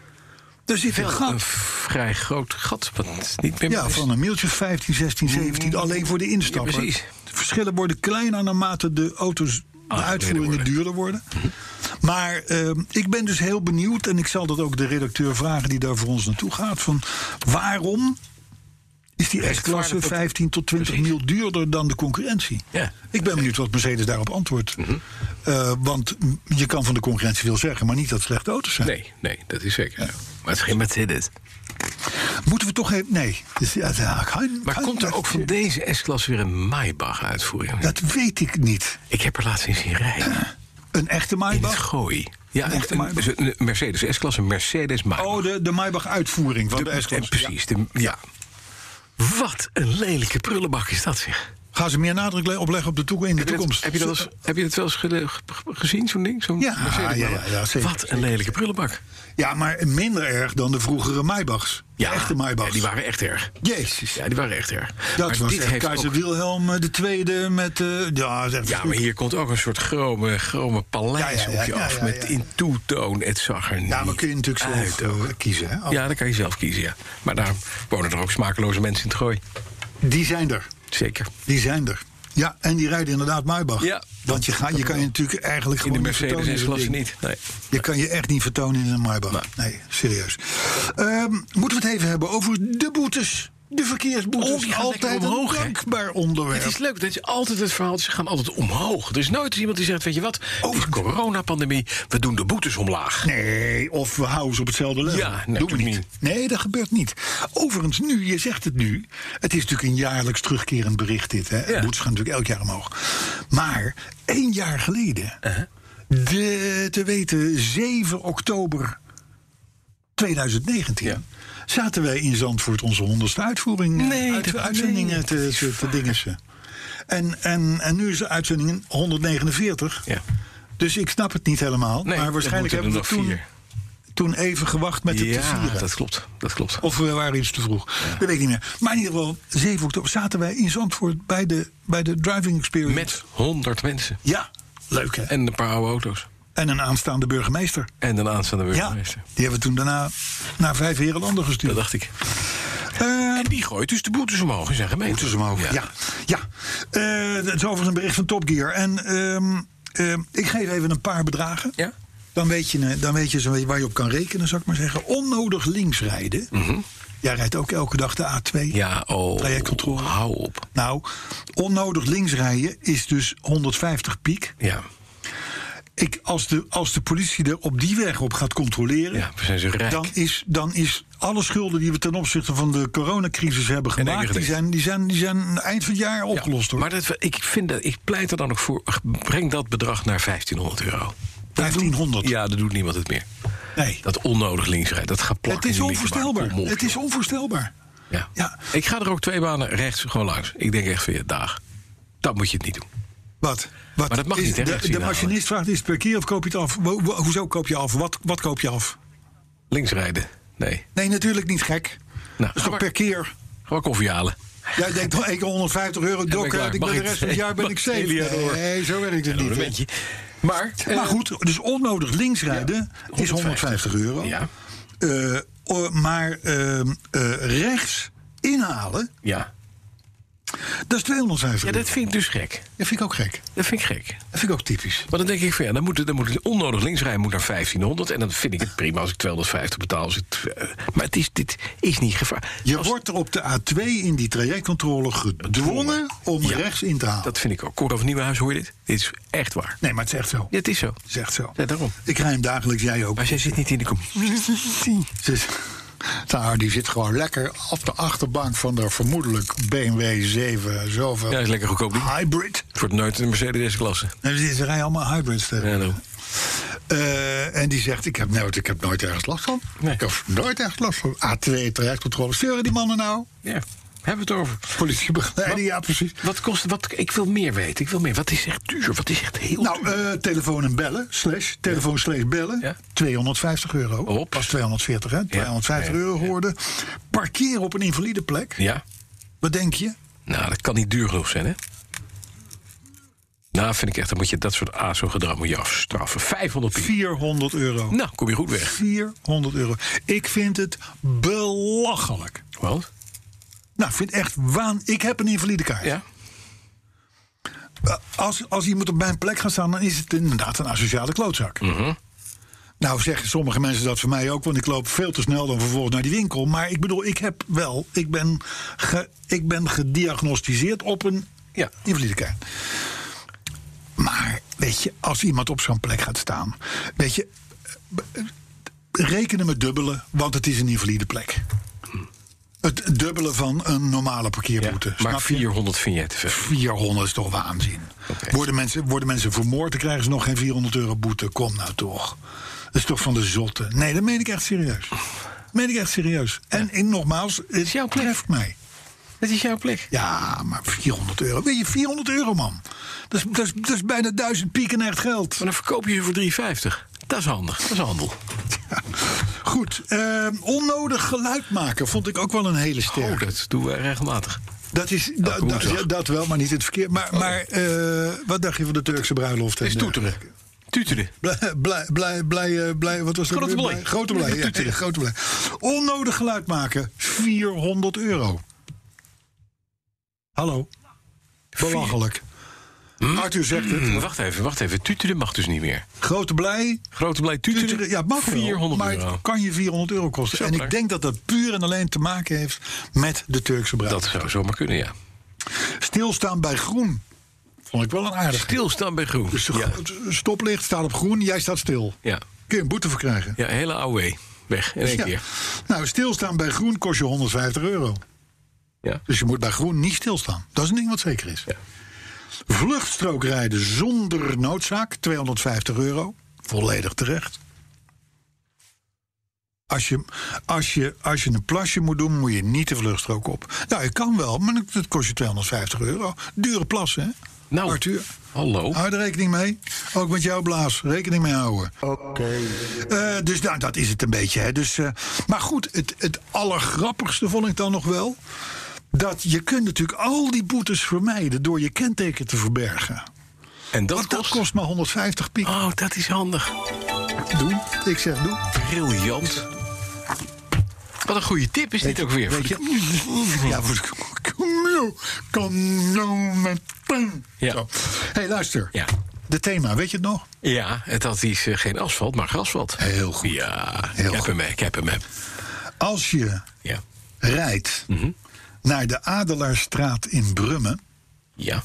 er zit een
Wel
gat.
een vrij groot gat, want niet meer
Nou. Ja, van een mailtje 15, 16, 17, alleen voor de instapper.
dus- Mm, Ja, precies.
De verschillen worden kleiner naarmate de auto's de
Aangeleden
uitvoeringen
worden. Mhm.
duurder worden. Maar ehm, ik ben dus heel benieuwd, en ik zal dat ook de redacteur vragen die daar voor ons naartoe gaat: van waarom is die
Rechtvaardig
S-klasse
dat-
15 tot 20
Precies.
mil duurder dan de concurrentie?
Ja. Mhm.
Ik ben benieuwd wat Mercedes daarop antwoordt. Eh, want je kan van de concurrentie veel zeggen, maar niet dat het slechte auto's zijn.
Nee, nee, dat is zeker. zo. Maar het is geen Mercedes.
Moeten we toch even. Nee. Dus, ja, ja, kan-
Maar
kan-
komt er
dat-
ook van deze S-klas weer een Maybach uitvoering?
Dat weet ik niet.
Ik heb er laatst in zien rijden.
Een echte
In het
Maybach?
gooi. Ja,
Een echte
een,
Maybach?
een- een Mercedes S-klas, een Mercedes Maybach.
Oh, de, de Maybach-uitvoering van de,
De-
S-klasse.
en Precies. de- ja. Wat een lelijke prullenbak is dat, zeg.
Ja. Gaan ze meer nadruk le- opleggen op de toekomst, in de
Heb je dat-
toekomst?
Heb je dat, eens- heb je dat wel eens gele- ge- ge- gezien, zo'n ding? Zo'n
Ja,
Mercedes
ja, ja,
Maybach?
ja, zeker,
Wat een lelijke prullenbak.
Ja, maar minder erg dan de vroegere Maybachs. De echte Maybachs.
ja, die waren echt erg.
Jezus.
Ja, die waren echt erg.
dat
Maar
was
dit
echt
heeft
keizer
ook-
Wilhelm II met... eh ja, zeg,
Ja, maar hier komt ook een soort chrome, chrome paleis
Ja, ja, ja,
op je
ja,
af.
ja,
met
ja.
in toetoon. Het zag er
Ja, maar
niet
kun je natuurlijk zelf
uit ook.
eh, kiezen. Hè?
Ja, dan kan je zelf kiezen, ja. Maar daar wonen er ook smakeloze mensen in het gooi.
Die zijn er.
Zeker.
Die zijn er. Ja, en die rijden inderdaad Maybach.
Ja.
Want je, ga, je kan je natuurlijk eigenlijk
In
gewoon
de
niet vertonen in
Mercedes
zo'n
S-klasse
ding.
niet. Nee.
Je kan je echt niet vertonen in een Maybach. Nee, serieus. Ehm, moeten we het even hebben over de boetes? De verkeersboetes.
Oh, die gaan
Altijd
lekker omhoog,
een
hè?
dankbaar onderwerp.
Het is leuk, dat is altijd het verhaal. Ze gaan altijd omhoog. Er is nooit eens iemand die zegt, weet je wat...
Oh.
Over de coronapandemie, we doen de boetes omlaag.
Nee, of we houden ze op hetzelfde level.
Ja, nee,
doen we
doe
niet. Nee, dat gebeurt niet. Overigens, nu, je zegt het nu. Het is natuurlijk een jaarlijks terugkerend bericht, dit. Hè?
Ja.
Boetes gaan natuurlijk elk jaar omhoog. Maar één jaar geleden,
Uh-huh.
de, te weten 7 oktober 2019.
Ja.
Zaten wij in Zandvoort onze honderdste uitvoering, eh,
Nee,
uit-
dat-
uitzendingen
nee,
te, te, te dingensen. En, en, en nu is de uitzending 149.
Ja.
Dus ik snap het niet helemaal.
Nee,
maar
dat
waarschijnlijk
moeten
hebben we
er nog
toen,
vier.
toen even gewacht met het te
Ja,
vieren.
dat klopt. Dat klopt.
Of we waren iets te vroeg. Dat weet ik niet meer. Maar in ieder geval, 7 oktober zaten wij in Zandvoort bij de, bij de driving experience.
Met 100 mensen.
Ja, leuk hè. En,
En een paar oude auto's.
een aanstaande burgemeester.
En een aanstaande
Ja, die
burgemeester.
hebben we toen daarna naar Vijf Herenlanden
Dat
gestuurd.
dacht ik.
Eh,
En die gooit dus de boetes omhoog in zijn gemeente.
Moeten ze omhoog. Ja, ja. Eh, dat is overigens een bericht van Top Gear. En ehm, ehm, ik geef even een paar bedragen.
Ja.
Dan weet je, eh, dan weet je zo'n beetje waar je op kan rekenen, zou ik maar zeggen. Onnodig links rijden. Jij rijdt ook elke dag de A2.
Mhm. Ja, oh,
Trajectcontrole.
hou op.
Nou, onnodig links rijden is dus 150 piek.
Ja,
Ik, als, de, als de politie er op die weg op gaat controleren...
ja we zijn zo rijk.
Dan is, dan is alle schulden die we ten opzichte van de coronacrisis hebben
In één keer
gemaakt... die
gedicht.
zijn, die, zijn, die zijn eind van het jaar
Ja,
opgelost, hoor.
Maar dat, ik, vind dat, ik pleit er dan ook voor, breng dat bedrag naar 1500 euro. Dat
1500?
doet- ja, dat doet niemand het meer.
nee.
Dat onnodig linksrijden, dat gaat
Het
plakken.
is
in de middenbaan.
onvoorstelbaar.
Kom op,
Het is
joh.
onvoorstelbaar.
ja.
ja.
Ik ga er ook twee banen rechts gewoon langs. Ik denk echt van je dag. Dat moet je het niet doen.
Wat? wat
Maar dat mag
is-
niet, hè,
De, de
rechtssignalen.
machinist vraagt, is het per keer of koop je het af? Wo- wo- hoezo koop je af? Wat, wat koop je af?
Linksrijden, nee.
Nee, natuurlijk niet gek.
Nou,
dat is
ga
toch
maar-
per keer?
Gewoon koffie halen.
Jij denkt, wel, ik 150 euro
ben ik
dokken,
klaar.
ik
Mag
ben de
ik-
rest van het jaar ben
mag
ik
ik
safe.
Elia door?
Nee, zo werkt het
En een
niet. hè.
momentje. Maar, eh,
Maar goed, dus onnodig links rijden is 150 euro.
Ja.
Eh, o- maar ehm, eh, rechts inhalen
Ja.
Dat is 250
Ja, dat vind ik dus gek.
dat vind ik ook gek.
Dat vind ik gek.
Dat vind ik ook typisch.
Maar dan denk ik van ja, dan moet, het- dan moet het onnodig linksrijden moet naar 1500. En dan vind ik het prima als ik 250 betaal. Als het, eh, maar het is, dit is niet gevaar.
Je
Als-
wordt op de A2 in die trajectcontrole gedwongen om
Ja,
rechts in te halen.
Dat vind ik ook. Kortom van Nieuwenhuis, hoor je dit? Dit is echt waar.
Nee, maar het is echt zo.
Ja, het is zo.
Het is echt zo.
Ja, daarom.
Ik rij hem dagelijks, jij ook.
Maar zij zit niet in de
[LAUGHS]
commissie.
Dus, nou, die zit gewoon lekker op de achterbank van de vermoedelijk BMW 7 zoveel.
Ja, is lekker goedkoop. Die.
Hybrid.
Het wordt nooit een Mercedes-klasse.
Nee, ze rijden allemaal hybrids tegen.
Ja, daarom.
Eh, en die zegt, ik heb nooit, ik heb nooit ergens last van.
Nee.
Ik heb nooit ergens last van. A2, trajectcontrole. Sturen die mannen nou?
Ja, hebben we het over.
Politiebegeleiding, ja precies.
Wat kost wat, Ik wil meer weten. Ik wil meer. Wat is echt duur? Wat is echt heel
Nou,
duur?
eh, telefoon en bellen, slash, telefoon slash bellen,
Ja.
250 euro.
Hop.
Pas 240, hè? 250
Ja, ja,
euro
ja.
hoorde. Parkeren op een invalide plek,
Ja?
wat denk je?
Nou, dat kan niet duur genoeg zijn, hè? Nou, vind ik echt, dan moet je dat soort ASO-gedrag moet je afstraffen. 500 piek.
400 euro.
Nou, kom je goed weg.
400 euro. Ik vind het belachelijk.
Wat?
Nou, ik vind echt waan. Ik heb een invalide kaart.
Ja?
Eh, Als, als iemand op mijn plek gaat staan, dan is het inderdaad een asociale klootzak. Nou zeggen sommige mensen dat voor mij ook, want ik loop veel te snel dan vervolgens naar die winkel. Maar ik bedoel, ik heb wel, ik ben, ge- ik ben gediagnosticeerd op een
Ja.
invalide kaart. Maar weet je, als iemand op zo'n plek gaat staan, weet je, eh, rekenen met dubbelen, want het is een invalide plek. Het dubbele van een normale
ja.
parkeerboete.
Maar
snap je?
400 vignetten. verder.
400 is toch waanzin.
Oké.
Worden, mensen, worden mensen vermoord, dan krijgen ze nog geen 400 euro boete. Kom nou toch. Dat is toch van de zotte. Nee, dat meen ik echt serieus. Dat meen ik echt serieus. En, en nogmaals, het
jouw plek.
treft mij.
Dat is jouw plek.
Ja, maar 400 euro. Weet je, 400 euro, man. Dat is, dat is, dat is bijna 1000 piek in echt geld.
Maar dan verkoop je ze voor 3,50. Dat is handig. Dat is handel.
Ja. Goed. eh, onnodig geluid maken vond ik ook wel een hele sterke.
Oh, dat doen we regelmatig.
Dat is da- da-
woensdag. Oh.
ja, dat wel, maar niet het verkeer. Maar, maar eh, wat dacht je van de Turkse bruiloft? en eh,
is toeteren.
dergelijke?
Tuteren.
Blij, blij, blij, blij, eh, blij, wat was het? ook
Grote
weer?
blij.
Grote
[LAUGHS]
blij, ja, ja, grote blij. Onnodig geluid maken, 400 euro. Hallo. Belachelijk.
Hm?
Arthur zegt
Maar
het.
Wacht even, wacht even. Tuteren mag dus niet meer.
Grote blij.
Grote blij tuteren.
tuteren, Ja, het mag wel,
400
maar
euro.
het kan je 400 euro kosten.
Zo
en ik
maar.
denk dat dat puur en alleen te maken heeft met de Turkse bruid.
Dat zou zomaar kunnen, ja.
Stilstaan bij groen. Vond ik wel een aardig.
Stilstaan bij groen.
Dus
ja.
het stoplicht staat op groen, jij staat stil.
Ja.
Kun je een boete voor krijgen.
ja, hele oude weg. In één
Ja.
keer.
Nou, stilstaan bij groen kost je 150 euro.
Ja.
Dus je moet bij groen niet stilstaan. Dat is een ding wat zeker is.
Ja.
Vluchtstrook rijden zonder noodzaak, 250 euro. Volledig terecht. Als je, als, je, als je een plasje moet doen, moet je niet de vluchtstrook op. Nou, je kan wel, maar dat kost je 250 euro. Dure plas, hè?
Nou,
Arthur. Ah,
Hallo.
Hou er rekening mee. Ook met jouw blaas. Rekening mee houden. Oké. dus nou, dat is het een beetje. Hè. Dus, eh, maar goed, het, het allergrappigste vond ik dan nog wel. Dat je kunt natuurlijk al die boetes vermijden door je kenteken te verbergen.
En dat
Want dat
kost...
kost maar 150 piek.
Oh, dat is handig.
Doen. Ik zeg doen.
Briljant. Wat een goede tip is dit ook weer.
Weet
[LAUGHS]
je? Ja, voor de kameel kan nou met pijn.
Ja.
Zo. hey, luister.
Ja.
De thema, weet je het nog?
Ja, het had iets, eh, geen asfalt, maar grasvalt.
Heel goed.
Ja,
Heel
ik heb
goed.
hem, ik heb hem. hè.
Als je
Ja.
rijdt naar de Adelaarstraat in Brummen,
Ja.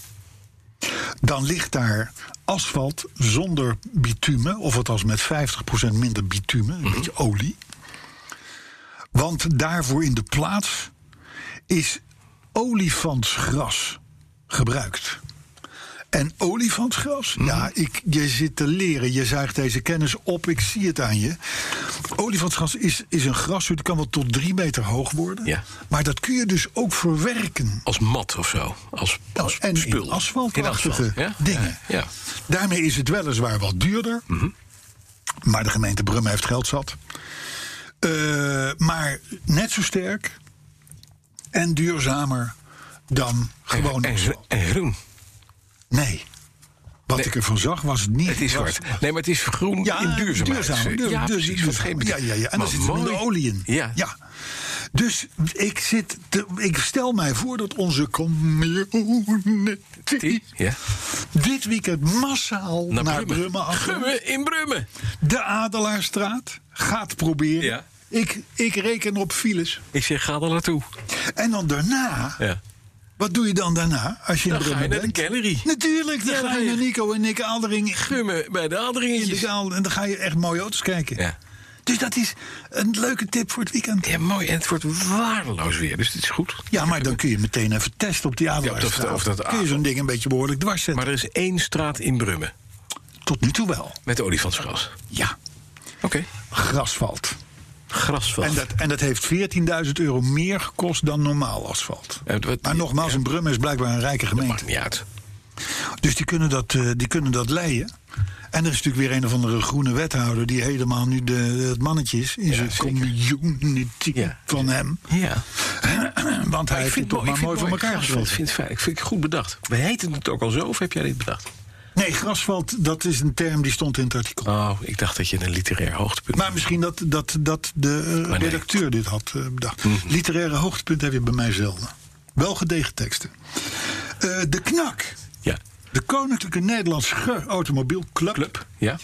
dan ligt daar asfalt zonder bitumen, of althans met 50% minder bitumen, een beetje olie. Want daarvoor in de plaats is olifantsgras gebruikt. En olifantsgras? Ja, ik, je zit te leren. Je zuigt deze kennis op. Ik zie het aan je. Olifantsgras is, is een gras. Het kan wel tot drie meter hoog worden.
Ja.
Maar dat kun je dus ook verwerken.
Als mat of zo. Als,
Nou,
als
en in
spul.
asfaltachtige
In asfalt, ja?
dingen.
Ja. ja.
Daarmee is het weliswaar wat duurder.
Mhm.
Maar de gemeente Brummen heeft geld zat. Eh, maar net zo sterk en duurzamer dan gewoon
en,
asfalt.
en groen.
Nee. Wat ik ervan zag was niet.
Het is zwart. Nee, maar het is groen in duurzaamheid.
Duurzaam, duur-
ja,
duur-
precies. wat
duurzaam.
geen
ja,
bedoeling.
ja, ja. En
Maar
daar zit minder
mooi.
olie in.
Ja.
ja. Dus ik, zit te- ik stel mij voor dat onze community
Ja.
dit weekend massaal naar, Brummen, afkomt.
Gummen in Brummen.
De Adelaarstraat gaat proberen.
Ja.
Ik, ik reken op files.
Ik zeg, ga er naartoe.
En dan daarna,
Ja.
wat doe je dan daarna? Als je in
Dan ga je
Brummen
naar de
bent?
Gallery.
Natuurlijk, dan
Ja, dan
ga
ga
je
je-
naar Nico en Nick Aldering.
Gummen bij de
in
aandringetjes.
de zaal. En dan ga je echt mooie auto's kijken.
Ja.
Dus dat is een leuke tip voor het weekend.
Ja, mooi. En het wordt waardeloos weer, dus het is goed.
Ja, maar dan kun je meteen even testen op die Adelaarstraat.
of dat-
kun je zo'n ding een beetje behoorlijk dwars zetten.
Maar er is één straat in Brummen
Tot nu toe wel.
met olifantsgras.
Ja,
Oké.
grasvalt.
Grasveld.
En dat, en dat heeft 14.000 euro meer gekost dan normaal asfalt.
Eh, wat-
Maar nogmaals, een Brum is blijkbaar een rijke
Maakt
gemeente.
niet uit.
Dus die kunnen dat, eh, die kunnen dat leien. En er is natuurlijk weer een of andere groene wethouder... die helemaal nu de, het mannetje is in zijn
zeker.
community
Ja.
van hem. [CLEARS THROAT]
Ja.
Want hij heeft het toch maar mooi voor elkaar
Ik
gekregen.
vind het fijn. Ik vind het goed bedacht. We heten het ook al zo, of heb jij dit bedacht?
Nee, grasveld, dat is een term die stond in het artikel.
Oh, ik dacht dat je een literair hoogtepunt...
Maar misschien dat, dat, dat de eh,
Oh, nee. Mhm.
redacteur dit had eh, bedacht. Literaire hoogtepunt heb je bij mij zelden. Wel gedegen teksten. Eh, de KNAK,
Ja.
de Koninklijke Nederlandse Automobielclub...
Club. Ja.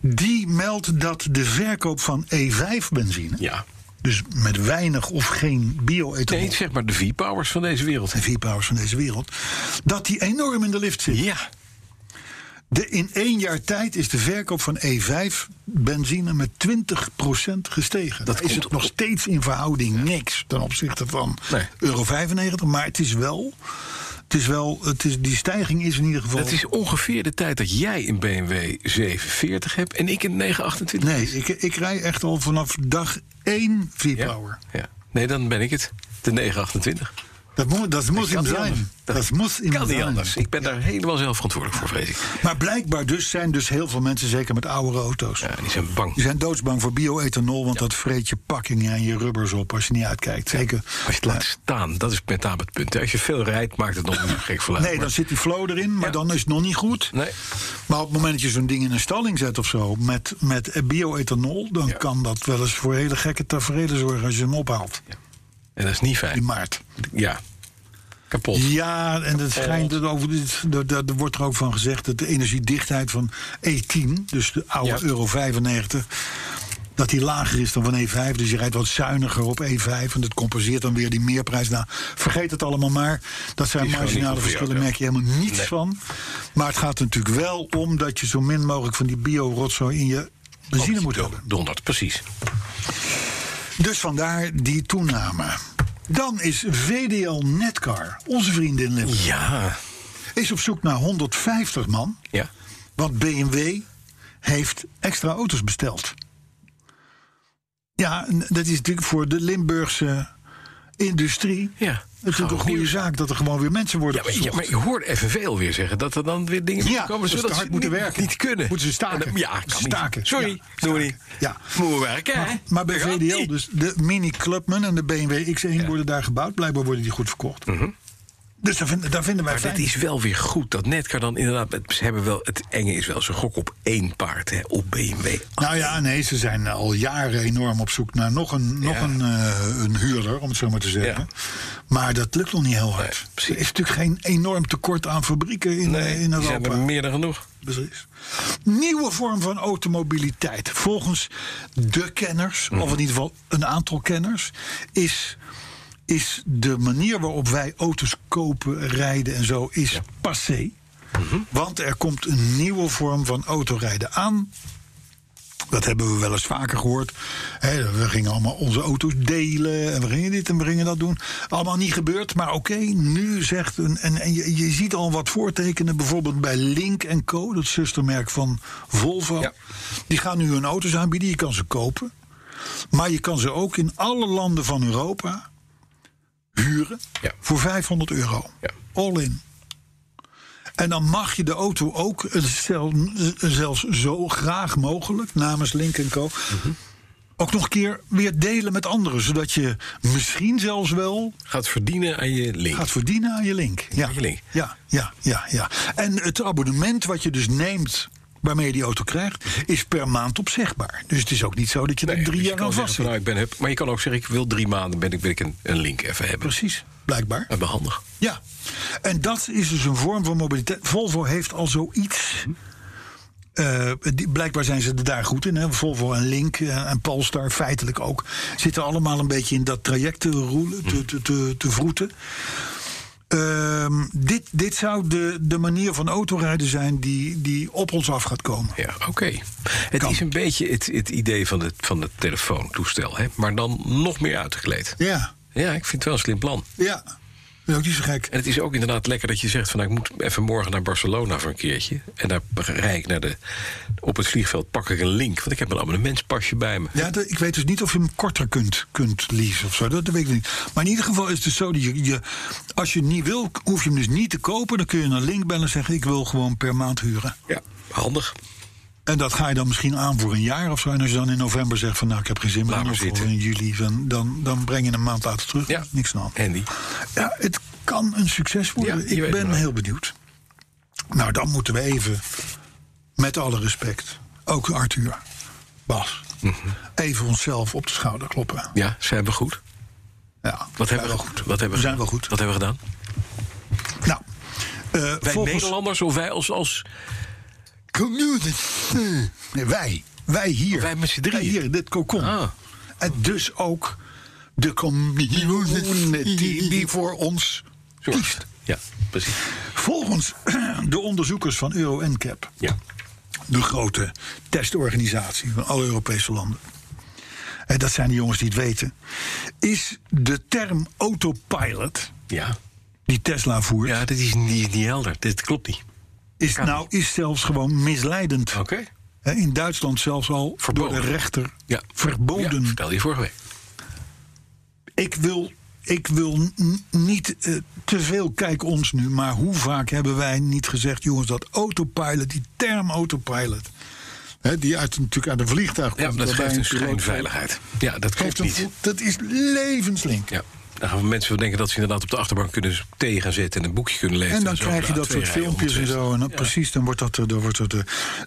die meldt dat de verkoop van E5-benzine...
Ja.
dus met weinig of geen bio-ethanol...
Nee, zeg maar de V-powers van deze wereld.
de vierpowers van deze wereld... dat die enorm in de lift zit.
Ja.
De, in één jaar tijd is de verkoop van E5 benzine met 20% gestegen.
Dat
Dat is
komt
het nog
op-
steeds in verhouding niks ten opzichte van
Nee.
euro 95. Maar het is wel. Het is wel het is, die stijging is in ieder geval.
Dat is ongeveer de tijd dat jij een BMW 740 hebt en ik een 928.
Nee, ik, ik rij echt al vanaf dag 1
Ja.
V-Power.
Ja. Nee, dan ben ik het. De 928.
Dat, moet, dat moet
kan
hem
niet
zijn.
anders.
Dat, moet hem
kan niet
zijn.
anders. Ik ben daar helemaal zelf verantwoordelijk voor, vrees ik.
Maar blijkbaar dus zijn dus heel veel mensen, zeker met oudere auto's.
Ja, die zijn bang.
Die zijn doodsbang voor bio-ethanol, want dat vreet je pakkingen en je rubbers op als je niet uitkijkt. Zeker.
Als je het laat staan, dat is met name het punt. hè. Als je veel rijdt, maakt het nog niet zo gek verluid.
Nee, dan zit die flow erin, maar
Ja.
dan is het nog niet goed.
Nee.
Maar op het moment dat je zo'n ding in een stalling zet of zo, met, met bio-ethanol, dan
Ja.
kan dat wel eens voor hele gekke tafereelen zorgen als je hem ophaalt
En dat is niet
in
fijn.
maart.
Ja. Kapot.
Ja, en het schijnt dat over, dit- daar- daar daar wordt er ook van gezegd dat de energiedichtheid van E10, dus de oude
Ja.
euro 95, dat die lager is dan van E5. Dus je rijdt wat zuiniger op E5 en dat compenseert dan weer die meerprijs. Nou, vergeet het allemaal maar. Dat zijn
gewoon niet goed
marginale
voor jou,
verschillen,
ja.
merk je helemaal niets
Nee.
van. Maar het gaat er natuurlijk wel om dat je zo min mogelijk van die bio-rotzooi in je benzine moet hebben.
Donderd, precies.
Dus vandaar die toename. Dan is VDL Netcar, onze vrienden in Limburg
Ja.
is op zoek naar 150 man,
Ja.
want BMW heeft extra auto's besteld. Ja, en dat is natuurlijk voor de Limburgse industrie
Ja.
natuurlijk een
Gauw
goede
nieuws.
zaak dat er gewoon weer mensen worden
Ja, maar, ja,
gezocht.
maar je hoorde FNV weer zeggen dat er dan weer dingen
Ja,
komen
dat ze
zodat
te hard
ze
moeten
niet,
werken.
niet kunnen.
Moeten ze
En
staken.
dan- Ja, kan
Staken,
niet. Sorry,
ja,
doen
staken.
we niet.
Ja.
Moeten we werken, hè?
Maar bij
Dat gaat
VDL,
niet.
dus de Mini Clubman en de BMW X1 worden daar gebouwd. Blijkbaar worden die goed verkocht. Dus daar vinden, daar vinden wij
Mhm. Maar
fijn.
dat is wel weer goed. Dat Netcar dan inderdaad... het- Ze hebben wel, het enge is wel, ze gokken op één paard, hè, op BMW.
Nou ja, nee, ze zijn al jaren enorm op zoek naar nog een, nog
Ja.
een, eh, een huurder, om het zo maar te zeggen. Maar dat lukt nog niet heel hard.
Nee, precies.
er is natuurlijk geen enorm tekort aan fabrieken in, eh, in
die zijn
Europa. Dus
er meer dan genoeg.
Precies. Nieuwe vorm van automobiliteit. Volgens de kenners,
Mhm.
of in ieder geval een aantal kenners, is, is de manier waarop wij auto's kopen, rijden en zo, is passé.
Mhm.
Want er komt een nieuwe vorm van autorijden aan. Dat hebben we wel eens vaker gehoord. Hè, we gingen allemaal onze auto's delen en we gingen dit en we gingen dat doen. Allemaal niet gebeurd, maar oké, nu zegt... Een, en en je, je ziet al wat voortekenen, bijvoorbeeld bij Link Co, dat zustermerk van Volvo.
Ja.
Die gaan nu hun auto's aanbieden, je kan ze kopen. Maar je kan ze ook in alle landen van Europa huren
Ja.
voor 500 euro.
Ja.
All in. En dan mag je de auto ook, eh, stel- zelfs zo graag mogelijk, namens Link Co.
Mhm.
Ook nog een keer weer delen met anderen. Zodat je misschien zelfs wel
Gaat verdienen aan je link.
gaat verdienen aan je link. Ja,
aan je link.
Ja, ja, ja, ja. En het abonnement wat je dus neemt waarmee je die auto krijgt, is per maand opzegbaar. Dus het is ook niet zo dat je er
Nee,
drie
dus je
jaar
kan
aan
zeggen
vast
van,
zit.
nou, ik ben hup. Maar je kan ook zeggen, ik wil drie maanden ben ik, wil ik een, een link even hebben.
Precies, blijkbaar.
Dat is wel handig.
Ja, en dat is dus een vorm van mobiliteit. Volvo heeft al zoiets. Eh, die, blijkbaar zijn ze er daar goed in. Hè? Volvo en Link eh, en Polestar feitelijk ook. Zitten allemaal een beetje in dat traject te roelen, te, te, te, te vroeten. Ehm, dit, dit zou de, de manier van autorijden zijn die, die op ons af gaat komen.
Ja, oké. Het
Kan.
is een beetje het, het idee van het, van het telefoontoestel, hè? maar dan nog meer uitgekleed.
Ja,
Ja, ik vind het wel een slim plan.
ja. Dat is ook niet zo gek.
En het is ook inderdaad lekker dat je zegt van nou, ik moet even morgen naar Barcelona voor een keertje. En daar rijd ik naar de, op het vliegveld pak ik een link, want ik heb een abonnementspasje bij me.
Ja, dat- ik weet dus niet of je hem korter kunt, kunt leasen of zo. Dat, dat weet ik niet. Maar in ieder geval is het dus zo dat je, je- Als je niet wil, hoef je hem dus niet te kopen. Dan kun je naar Link bellen en zeggen: Ik wil gewoon per maand huren.
Ja, handig.
En dat ga je dan misschien aan voor een jaar of zo. En als je dan in november zegt: van, Nou, ik heb geen zin meer.
Laat maar
Of
zitten.
in juli, dan, dan, dan breng je hem een maand later terug.
Ja.
Niks aan.
Handy.
Ja, het kan een succes worden.
Ja, je weet
ik
het
ben
wel.
heel benieuwd. Nou, dan moeten we even, met alle respect, ook Arthur, Bas,
Mhm.
even onszelf op de schouder kloppen.
Ja, zijn we goed?
Ja,
Wat hebben
ja,
we
wel
goed? Wat hebben
we zijn wel goed.
Wat hebben we gedaan?
Nou, eh,
Wij
volgens-
Nederlanders of wij als, als
Community. Nee, wij. Wij hier.
Oh, wij met z'n drieën.
Wij hier, dit cocon.
Ah.
En dus ook de community die voor ons kiest.
Ja, precies.
Volgens de onderzoekers van Euro NCAP,
Ja.
de grote testorganisatie van alle Europese landen. En dat zijn de jongens die het weten. Is de term autopilot
Ja.
die Tesla voert,
Ja, dit is, niet- niet helder. Dit klopt niet.
is, nou, is zelfs gewoon misleidend.
Oké.
Hè, In Duitsland zelfs al
Oh. Verboden.
door de rechter
Ja.
verboden.
Ja, vertel je vorige week.
Ik wil, ik wil n- niet eh, te veel kijk ons nu, maar hoe vaak hebben wij niet gezegd, jongens, dat autopilot, die term autopilot, hè, die uit, natuurlijk uit een vliegtuig komt.
Ja, dat
waarbij
geeft een
piloot-
schijnveiligheid. Ja, dat
geeft
klopt
een
niet.
vo- Dat is levenslink.
Ja. Dan gaan we mensen wel denken dat ze inderdaad op de achterbank kunnen s- thee gaan zetten en een boekje kunnen lezen.
En dan
zo
krijg je
op de
dat
A2
soort
rijden
filmpjes en zo. En dan, Precies, dan wordt dat. eh, Dan wordt dat eh.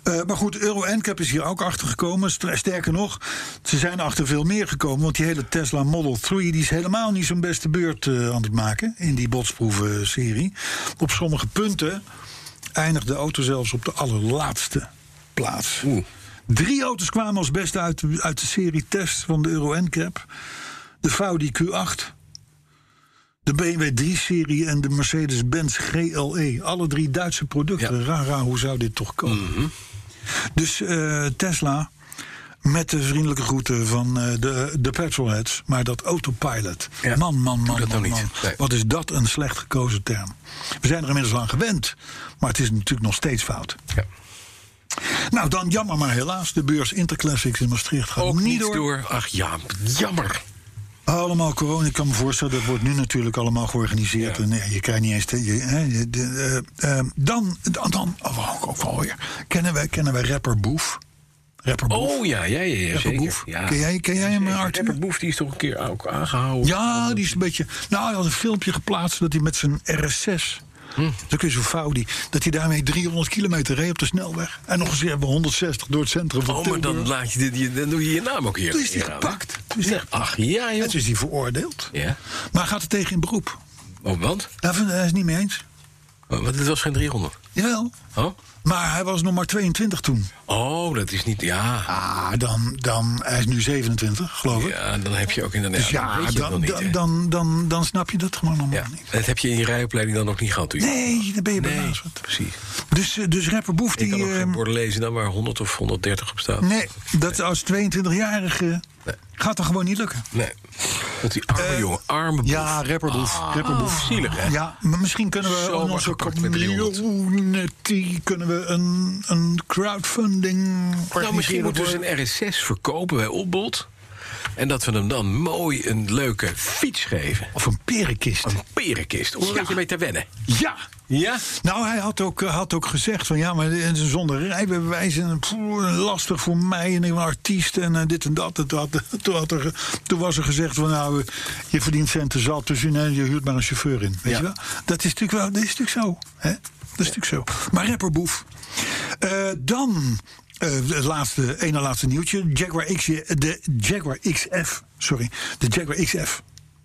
Eh, maar goed, Euro NCAP is hier ook achter gekomen. St- Sterker nog, ze zijn achter veel meer gekomen. Want die hele Tesla Model 3 die is helemaal niet zijn beste beurt eh, aan het maken. In die botsproeven-serie. Op sommige punten eindigde de auto zelfs op de allerlaatste plaats.
Oeh.
Drie auto's kwamen als beste uit, de- uit de serie test van de Euro NCAP. De Audi Q8, de BMW 3-serie en de Mercedes-Benz GLE. Alle drie Duitse producten.
Ja. Mhm.
Rara, hoe zou dit toch komen? Dus eh, Tesla, met de vriendelijke groeten van eh, de, de petrolheads... maar dat autopilot.
Ja.
Man, man, man,
Doe dat
man,
nou
man.
niet. Nee.
Wat is dat een slecht gekozen term. We zijn er inmiddels aan gewend. Maar het is natuurlijk nog steeds fout.
Ja.
Nou, dan jammer maar helaas. De beurs Interclassics in Maastricht gaat
Ook
niet
niet
door.
door. Ach ja, jammer.
Allemaal corona, ik kan me voorstellen, dat wordt nu natuurlijk allemaal georganiseerd.
Ja.
En nee, je krijgt niet eens. Te, je, hè, je- de, eh, eh, dan, dan, dan oh, wou ik ook wel weer. Kennen wij, kennen wij rapper Boef? Rapper Boef?
Oh ja, ja, ja, ja
rapper
zeker.
Boef?
Ja.
Ken, jij, ken jij hem, Arthur?
Rapper Boef die is toch een keer ook aangehouden?
Ja, die is een beetje. Nou, hij had een filmpje geplaatst dat hij met zijn RS6.
Hm.
Dat is zo fout die. Dat hij daarmee 300 kilometer reed op de snelweg. En nog eens hebben 160 door het centrum van
Oh, maar
Tilburg.
dan, laat je dit, je- dan doe je je naam ook hier.
Toen is die
hier aan, hè?
gepakt. Toen is die
Ja, Ach ja,
En
joh.
toen is hij veroordeeld.
Ja.
Maar hij gaat er tegen in beroep.
Oh, want?
Daar vindt hij is het niet mee eens.
Oh, Want het was geen 300.
Jawel.
Oh?
Maar hij was nog maar 22 toen.
Oh, dat is niet. Ja.
Ah, dan, dan, hij is nu 27, geloof ik.
Ja, dan heb je ook inderdaad.
dus ja,
weet je het nog
dan,
niet,
dan,
hè?
dan, dan, dan snap je dat gewoon allemaal
ja.
niet.
Dat heb je in je rijopleiding dan nog niet gehad, u?
Nee, dan ben je
Nee,
belazerd.
precies.
Dus, eh, dus rapper Boef,
Ik
die...
kan ook geen
ehm,
borden lezen dan waar 100 of 130 op staat.
nee, dat als 22-jarige
Nee.
gaat dat gewoon niet lukken.
Nee. Want die arme jongen, arme boef.
Eh, Ja, rapper Boef. rapper Boef.
Zielig, hè? Nou,
Ja, maar misschien kunnen we
Zomaar
in onze
gepakt met 300.
community kunnen we een, een crowdfunding organiseren.
Nou, misschien moeten we
voor-
ze een RS6 verkopen bij Opbod. En dat we hem dan mooi een leuke fiets geven.
Of een perenkist.
Een perenkist, om er een
Ja.
beetje mee te wennen.
Ja!
Ja?
Nou, hij had ook, had ook gezegd van ja, maar eh, zonder rijbewijs en pff, lastig voor mij en ik ben artiest en eh, dit en dat. En Toen, had, [LAUGHS] toen, had er, ge- toen was er gezegd van nou, eh, je verdient centen zat, dus je, nee, je huurt maar een chauffeur in. Weet
Ja.
je wel? Dat is natuurlijk wel, dat is natuurlijk zo. Hè? Dat is natuurlijk zo. Maar rapperboef. Eh, dan eh, het laatste, ene laatste nieuwtje. Jaguar XJ, de Jaguar XF, sorry, de Jaguar XF.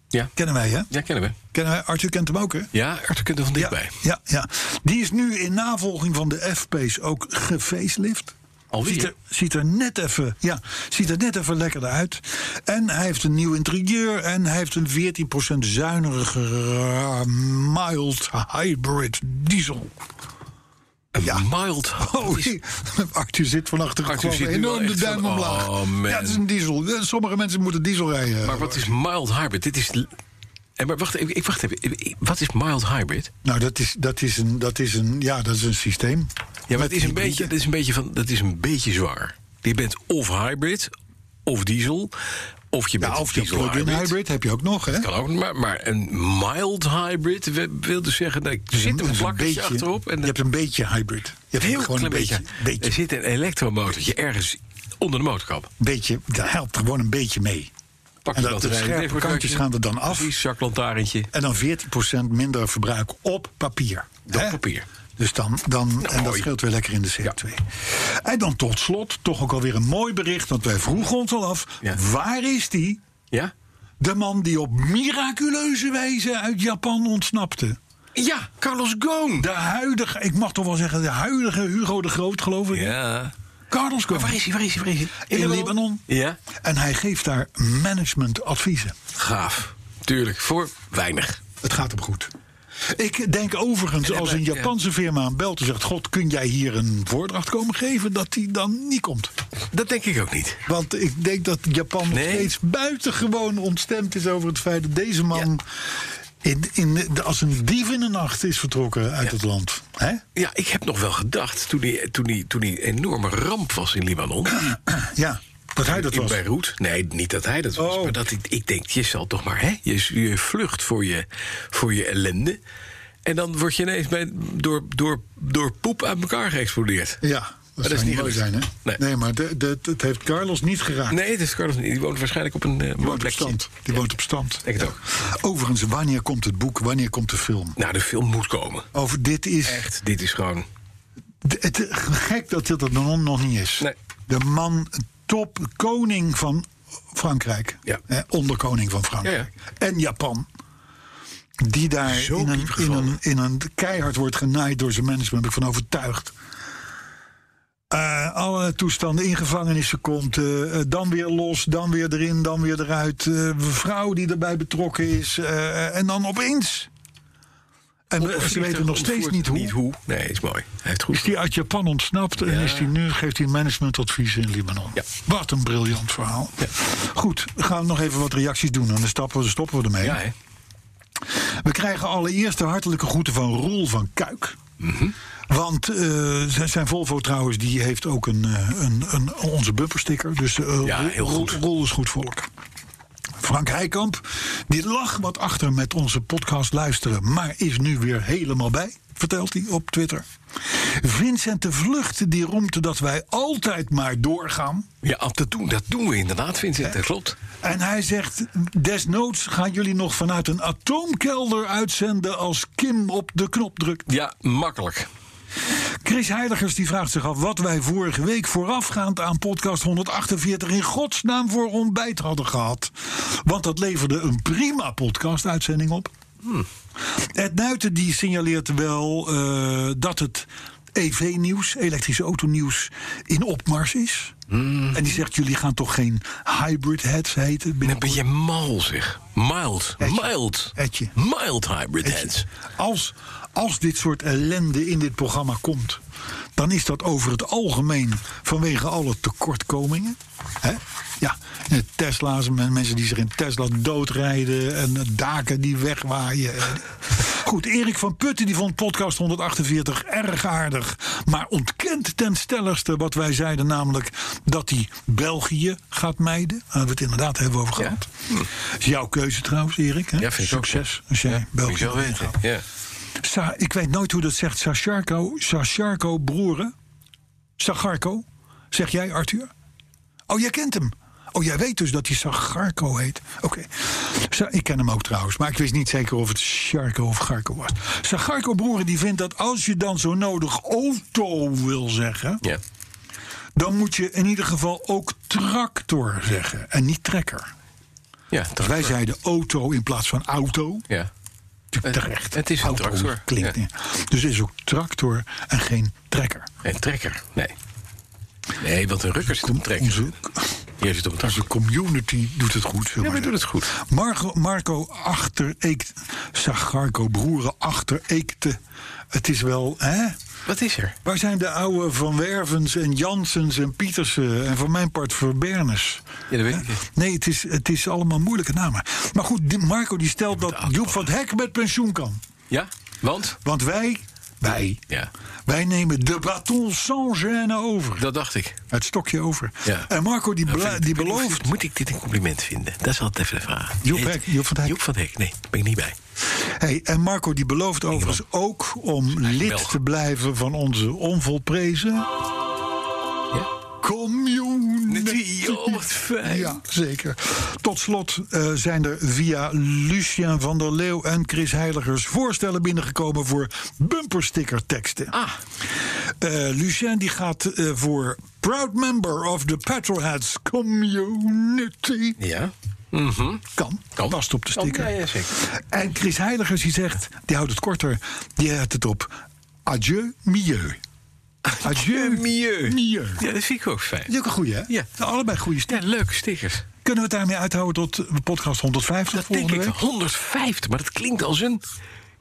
Ja.
Kennen wij, hè?
Ja, kennen we.
Kennen wij, Arthur kent hem ook, hè?
Ja, Arthur kunt er van dichtbij.
Ja, ja, ja. Die is nu in navolging van de F-Pace ook gefacelift.
Alweer?
Ziet er, ziet er net even, ja, ziet er net even lekkerder uit. En hij heeft een nieuw interieur en hij heeft een 14% zuiniger eh, mild hybrid diesel.
Een
Ja.
mild.
Oh, Arthur zit van achteren
Arthur
gewoon
zit nu wel
enorm de
echt
duim
van,
omlaag.
oh, man.
ja, het is een diesel. Sommige mensen moeten diesel rijden.
Maar wat is mild hybrid? Dit is. En maar wacht even, ik wacht even. Ik- Wat is mild hybrid?
Nou, dat is, dat, is een, dat, is een, ja, dat is een systeem.
Ja, maar
Met
het is een
hybride.
beetje, het is een beetje van, dat is een beetje zwaar. Je bent of hybrid, of diesel, of je bent
Ja, Nou, of die
diesel
plug-in hybrid. heb je ook nog, hè?
Kan ook, maar, maar een mild hybrid we- wil dus zeggen, nou, er zit een
Dus
vlakketje achterop. En
je hebt een beetje hybrid. Je hebt
heel
gewoon
klein
een beetje. beetje,
Er zit een elektromotortje ergens onder de motorkap.
beetje. Dat helpt gewoon een beetje mee.
Pak
En
je
dat de
batterij,
scherpe
netwerkkaartje.
kantjes gaan er dan af.
Precies, zaklantaarntje.
En dan 14% minder verbruik op papier.
Dan
hè?
papier. Nou,
Dus dan, dan en dat
mooi.
scheelt weer lekker in de CO2. En dan tot slot, toch ook alweer een mooi bericht, want wij vroegen ons al af:
Ja.
waar is die,
Ja?
de man die op miraculeuze wijze uit Japan ontsnapte?
Ja, Carlos Ghosn.
De huidige, ik mag toch wel zeggen, de huidige Hugo de Groot, geloof ik.
Ja.
Carlos Ghosn.
Waar is hij, waar is hij, waar is hij?
In Libanon.
Ja.
En hij geeft daar managementadviezen.
Gaaf. Tuurlijk, voor weinig.
Het gaat hem goed. Ik denk overigens,
En
als een
hebben-
Japanse firma hem belt en zegt... God, kun jij hier een voordracht komen geven? Dat die dan niet komt.
Dat denk ik ook niet.
Want ik denk dat Japan nog
Nee.
steeds buitengewoon ontstemd is... over het feit dat deze man in, in, de- als een dief in de nacht is vertrokken uit het land. Hè?
Ja, ik heb nog wel gedacht, toen die, toen die, toen die enorme ramp was in Libanon...
Ja, dat hij dat
in
was.
Beirut. Nee, niet dat hij dat was.
Oh.
Maar dat ik, ik denk, je zal toch maar... Hè, je, je vlucht voor je, voor je ellende. En dan word je ineens bij, door, door, door poep uit elkaar geëxplodeerd.
Ja, dat,
is
zou
niet
niet mooi zijn,
gelukt.
hè?
Nee.
Nee, maar de, de- het heeft Carlos niet geraakt.
Nee, dat is Carlos niet. Die woont waarschijnlijk op een
Die
eh, mooi
woont op
plekje.
stand. Die woont op stand.
Denk het ook.
Overigens, wanneer komt het boek, wanneer komt de film?
Nou, de film moet komen.
Over dit is.
Echt, dit is gewoon...
D- Het, gek dat dit er nog, nog niet is.
Nee.
De man, top koning van Frankrijk.
Ja.
Hè, onderkoning van Frankrijk. En Japan. Die daar
Zo
in een,
diep
in,
gevallen.
een, in een keihard wordt genaaid door zijn management. Ben ik van overtuigd. Eh, alle toestanden in gevangenissen komt. eh, eh, dan weer los, dan weer erin, dan weer eruit. eh, vrouw die erbij betrokken is. eh, en dan opeens. En we, ze weten nog steeds niet hoe.
Niet hoe. Nee, is mooi. Hij heeft
Is
goed.
die uit Japan ontsnapt en is die nu, geeft hij managementadvies in Libanon.
Ja.
Wat een briljant verhaal. Goed, we gaan nog even wat reacties doen en dan stappen we, stoppen we ermee.
Ja, hè?
We krijgen allereerst de hartelijke groeten van Roel van Kuik. Want eh, zijn- zijn Volvo trouwens, die heeft ook een, eh, een, een, onze bumpersticker. Dus eh,
Ja,
Roel-
heel goed.
Roel, Roel is goed volk. Frank Heikamp, die lag wat achter met onze podcast luisteren... maar is nu weer helemaal bij, vertelt hij op Twitter. Vincent de Vlucht, die roemt dat wij altijd maar doorgaan.
Ja, al dat doen, dat doen we inderdaad, Vincent. Dat klopt.
En hij zegt, desnoods gaan jullie nog vanuit een atoomkelder uitzenden... als Kim op de knop drukt.
Ja, makkelijk.
Chris Heiligers die vraagt zich af wat wij vorige week voorafgaand aan podcast 148 in godsnaam voor ontbijt hadden gehad. Want dat leverde een prima podcast-uitzending op. Ed Nuiten die signaleert wel eh, dat het EV-nieuws, elektrische autonieuws, in opmars is. En die zegt, jullie gaan toch geen hybrid heads heten?
Dan
binnenkort?
ben je mal, zeg. Mild.
Etje.
Mild.
Etje.
Mild hybrid heads.
Als, als dit soort ellende in dit programma komt, dan is dat over het algemeen vanwege alle tekortkomingen. Hè? Ja, eh, Tesla's, men- mensen die zich in Tesla doodrijden en eh, daken die wegwaaien. Goed, Erik van Putten die vond podcast 148 erg aardig. Maar ontkent ten stelligste wat wij zeiden, namelijk dat hij België gaat mijden. Daar hebben we het inderdaad hebben over gehad. Is jouw keuze trouwens, Erik. Hè?
Ja, vind ik ook,
Succes
ja.
als jij
Ja,
België
moet je wel
gaat.
weten. Ja.
Sa- ik weet nooit hoe dat zegt. Sacharko, Sacharko Broeren. Sagarko. Zeg jij, Arthur? Oh, jij kent hem. Oh, jij weet dus dat hij Sagarko heet. Oké. Sa- Ik ken hem ook trouwens, maar ik wist niet zeker of het Sharko of Garko was. Sagarko Broeren die vindt dat als je dan zo nodig auto wil zeggen,
Ja.
dan moet je in ieder geval ook tractor zeggen en niet trekker.
Ja,
Dus wij zeiden auto in plaats van auto.
Ja.
Natuurlijk
Het-
terecht.
het is een
Auto
tractor,
Klinkt,
ja.
niet. Dus het is ook tractor en geen trekker.
En trekker. Nee. Nee, want een rukker zit op een trekker.
Onze,
Hier zit op een trekker.
onze community doet het goed.
Ja, maar doet het goed.
Marco, Marco achter Eekt. Sagarco broeren achter Eekte. Het is wel, hè?
Wat is er?
Waar zijn de oude Van Wervens en Jansens en Pietersen en van mijn part Verbernes?
Ja, dat weet ik niet.
Nee, het is, het is allemaal moeilijke namen. Maar goed, die- Marco die stelt dat Joep van het Hek met pensioen kan.
Ja? Want?
Want wij, wij,
Ja.
Wij nemen de baton sans gêne over.
Dat dacht ik.
Het stokje over.
Ja.
En Marco die,
Nou,
bela-
vind ik-
die
ik weet niet of-
belooft.
Moet ik dit een compliment vinden? Dat is altijd even de vraag.
Joep
Nee,
Hek- Joep van het Hek.
Joep van het Hek. Nee, daar ben ik niet bij.
Hey, en Marco die belooft overigens ook om lid
Belg.
te blijven van onze onvolprezen
Ja?
community.
Oh, wat fijn.
Ja, zeker. Tot slot eh, zijn er via Lucien van der Leeuw en Chris Heiligers voorstellen binnengekomen voor bumperstickerteksten.
Ah,
Eh, Lucien die gaat eh, voor Proud Member of the Petrolheads Community.
ja.
Kan.
Kan.
Past op de sticker.
Oh, ja, ja, zeker.
En Chris Heiligers die zegt, die houdt het korter, die houdt het op. Adieu milieu. Adieu
Milieu.
milieu.
Ja, dat vind ik ook fijn.
Dat is ook een goeie, hè?
Ja.
Allebei goede
Ja,
stickers.
leuke stickers.
Kunnen we het daarmee uithouden tot eh, podcast 150
Dat denk
volgende
ik.
week?
150, maar dat klinkt als een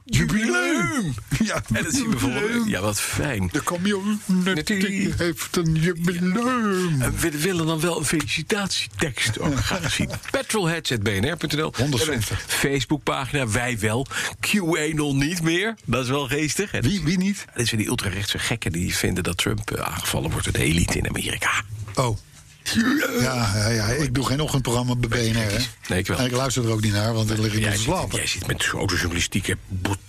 jubileum.
Ja,
En dat zien we volgende week. Ja, wat fijn.
De community
Natuurlijk.
heeft een jubileum.
En we willen dan wel een felicitatietekst
[LAUGHS]
ook graag zien. Petrolheads.bnr.nl
150.
Facebookpagina, wij wel. QAnon niet meer. Dat is wel geestig. En
Wie, wie niet?
Dat zijn die ultrarechtse gekken die vinden dat Trump eh, aangevallen wordt door de elite in Amerika.
Oh. Ja, ja, ja, ik doe geen ochtendprogramma bij BNR. Hè.
Nee, ik wel.
En ik luister er ook niet naar, want dan lig ik nog
Jij
te
zit,
slapen.
jij zit met autojournalistieke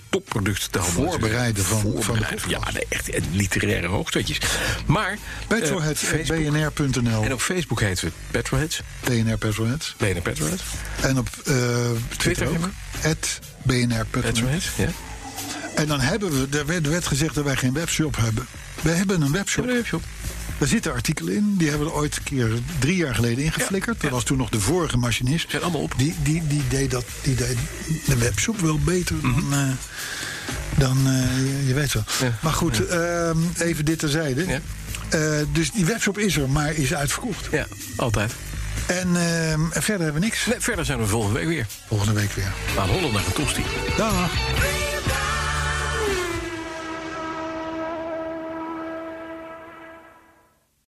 topproducten te handelen.
Voorbereiden van- van de
Voorbereiden. Ja, nee, echt eh, literaire hoogstandjes. Maar. eh, Facebook- En
Petrohead.bnr.nl,
op Facebook heten we Petrolheads.
BNR Petrohead.
Nee, de Petrolheads.
En op eh, Twitter,
Twitter
ook,
hebben
at BNR Petrohead.
Petrolheads, ja.
En dan hebben we, er werd, er werd gezegd dat wij geen webshop hebben. Wij hebben een webshop.
Hebben we een webshop?
Daar zitten artikelen in. Die hebben we ooit een keer drie jaar geleden ingeflikkerd. Dat
ja.
was toen nog de vorige machinist.
Zijn allemaal op.
Die, die, die, deed, dat, die deed de webshop wel beter
Mhm.
dan... eh, dan eh, je, je weet wel.
Ja.
Maar goed, ehm, even dit terzijde.
Ja.
Eh, dus die webshop is er, maar is uitverkocht.
Ja, altijd.
En ehm, verder hebben we niks.
Nee, verder zijn we volgende week weer.
Volgende week weer.
Aan Holland naar een tosti.
Dag.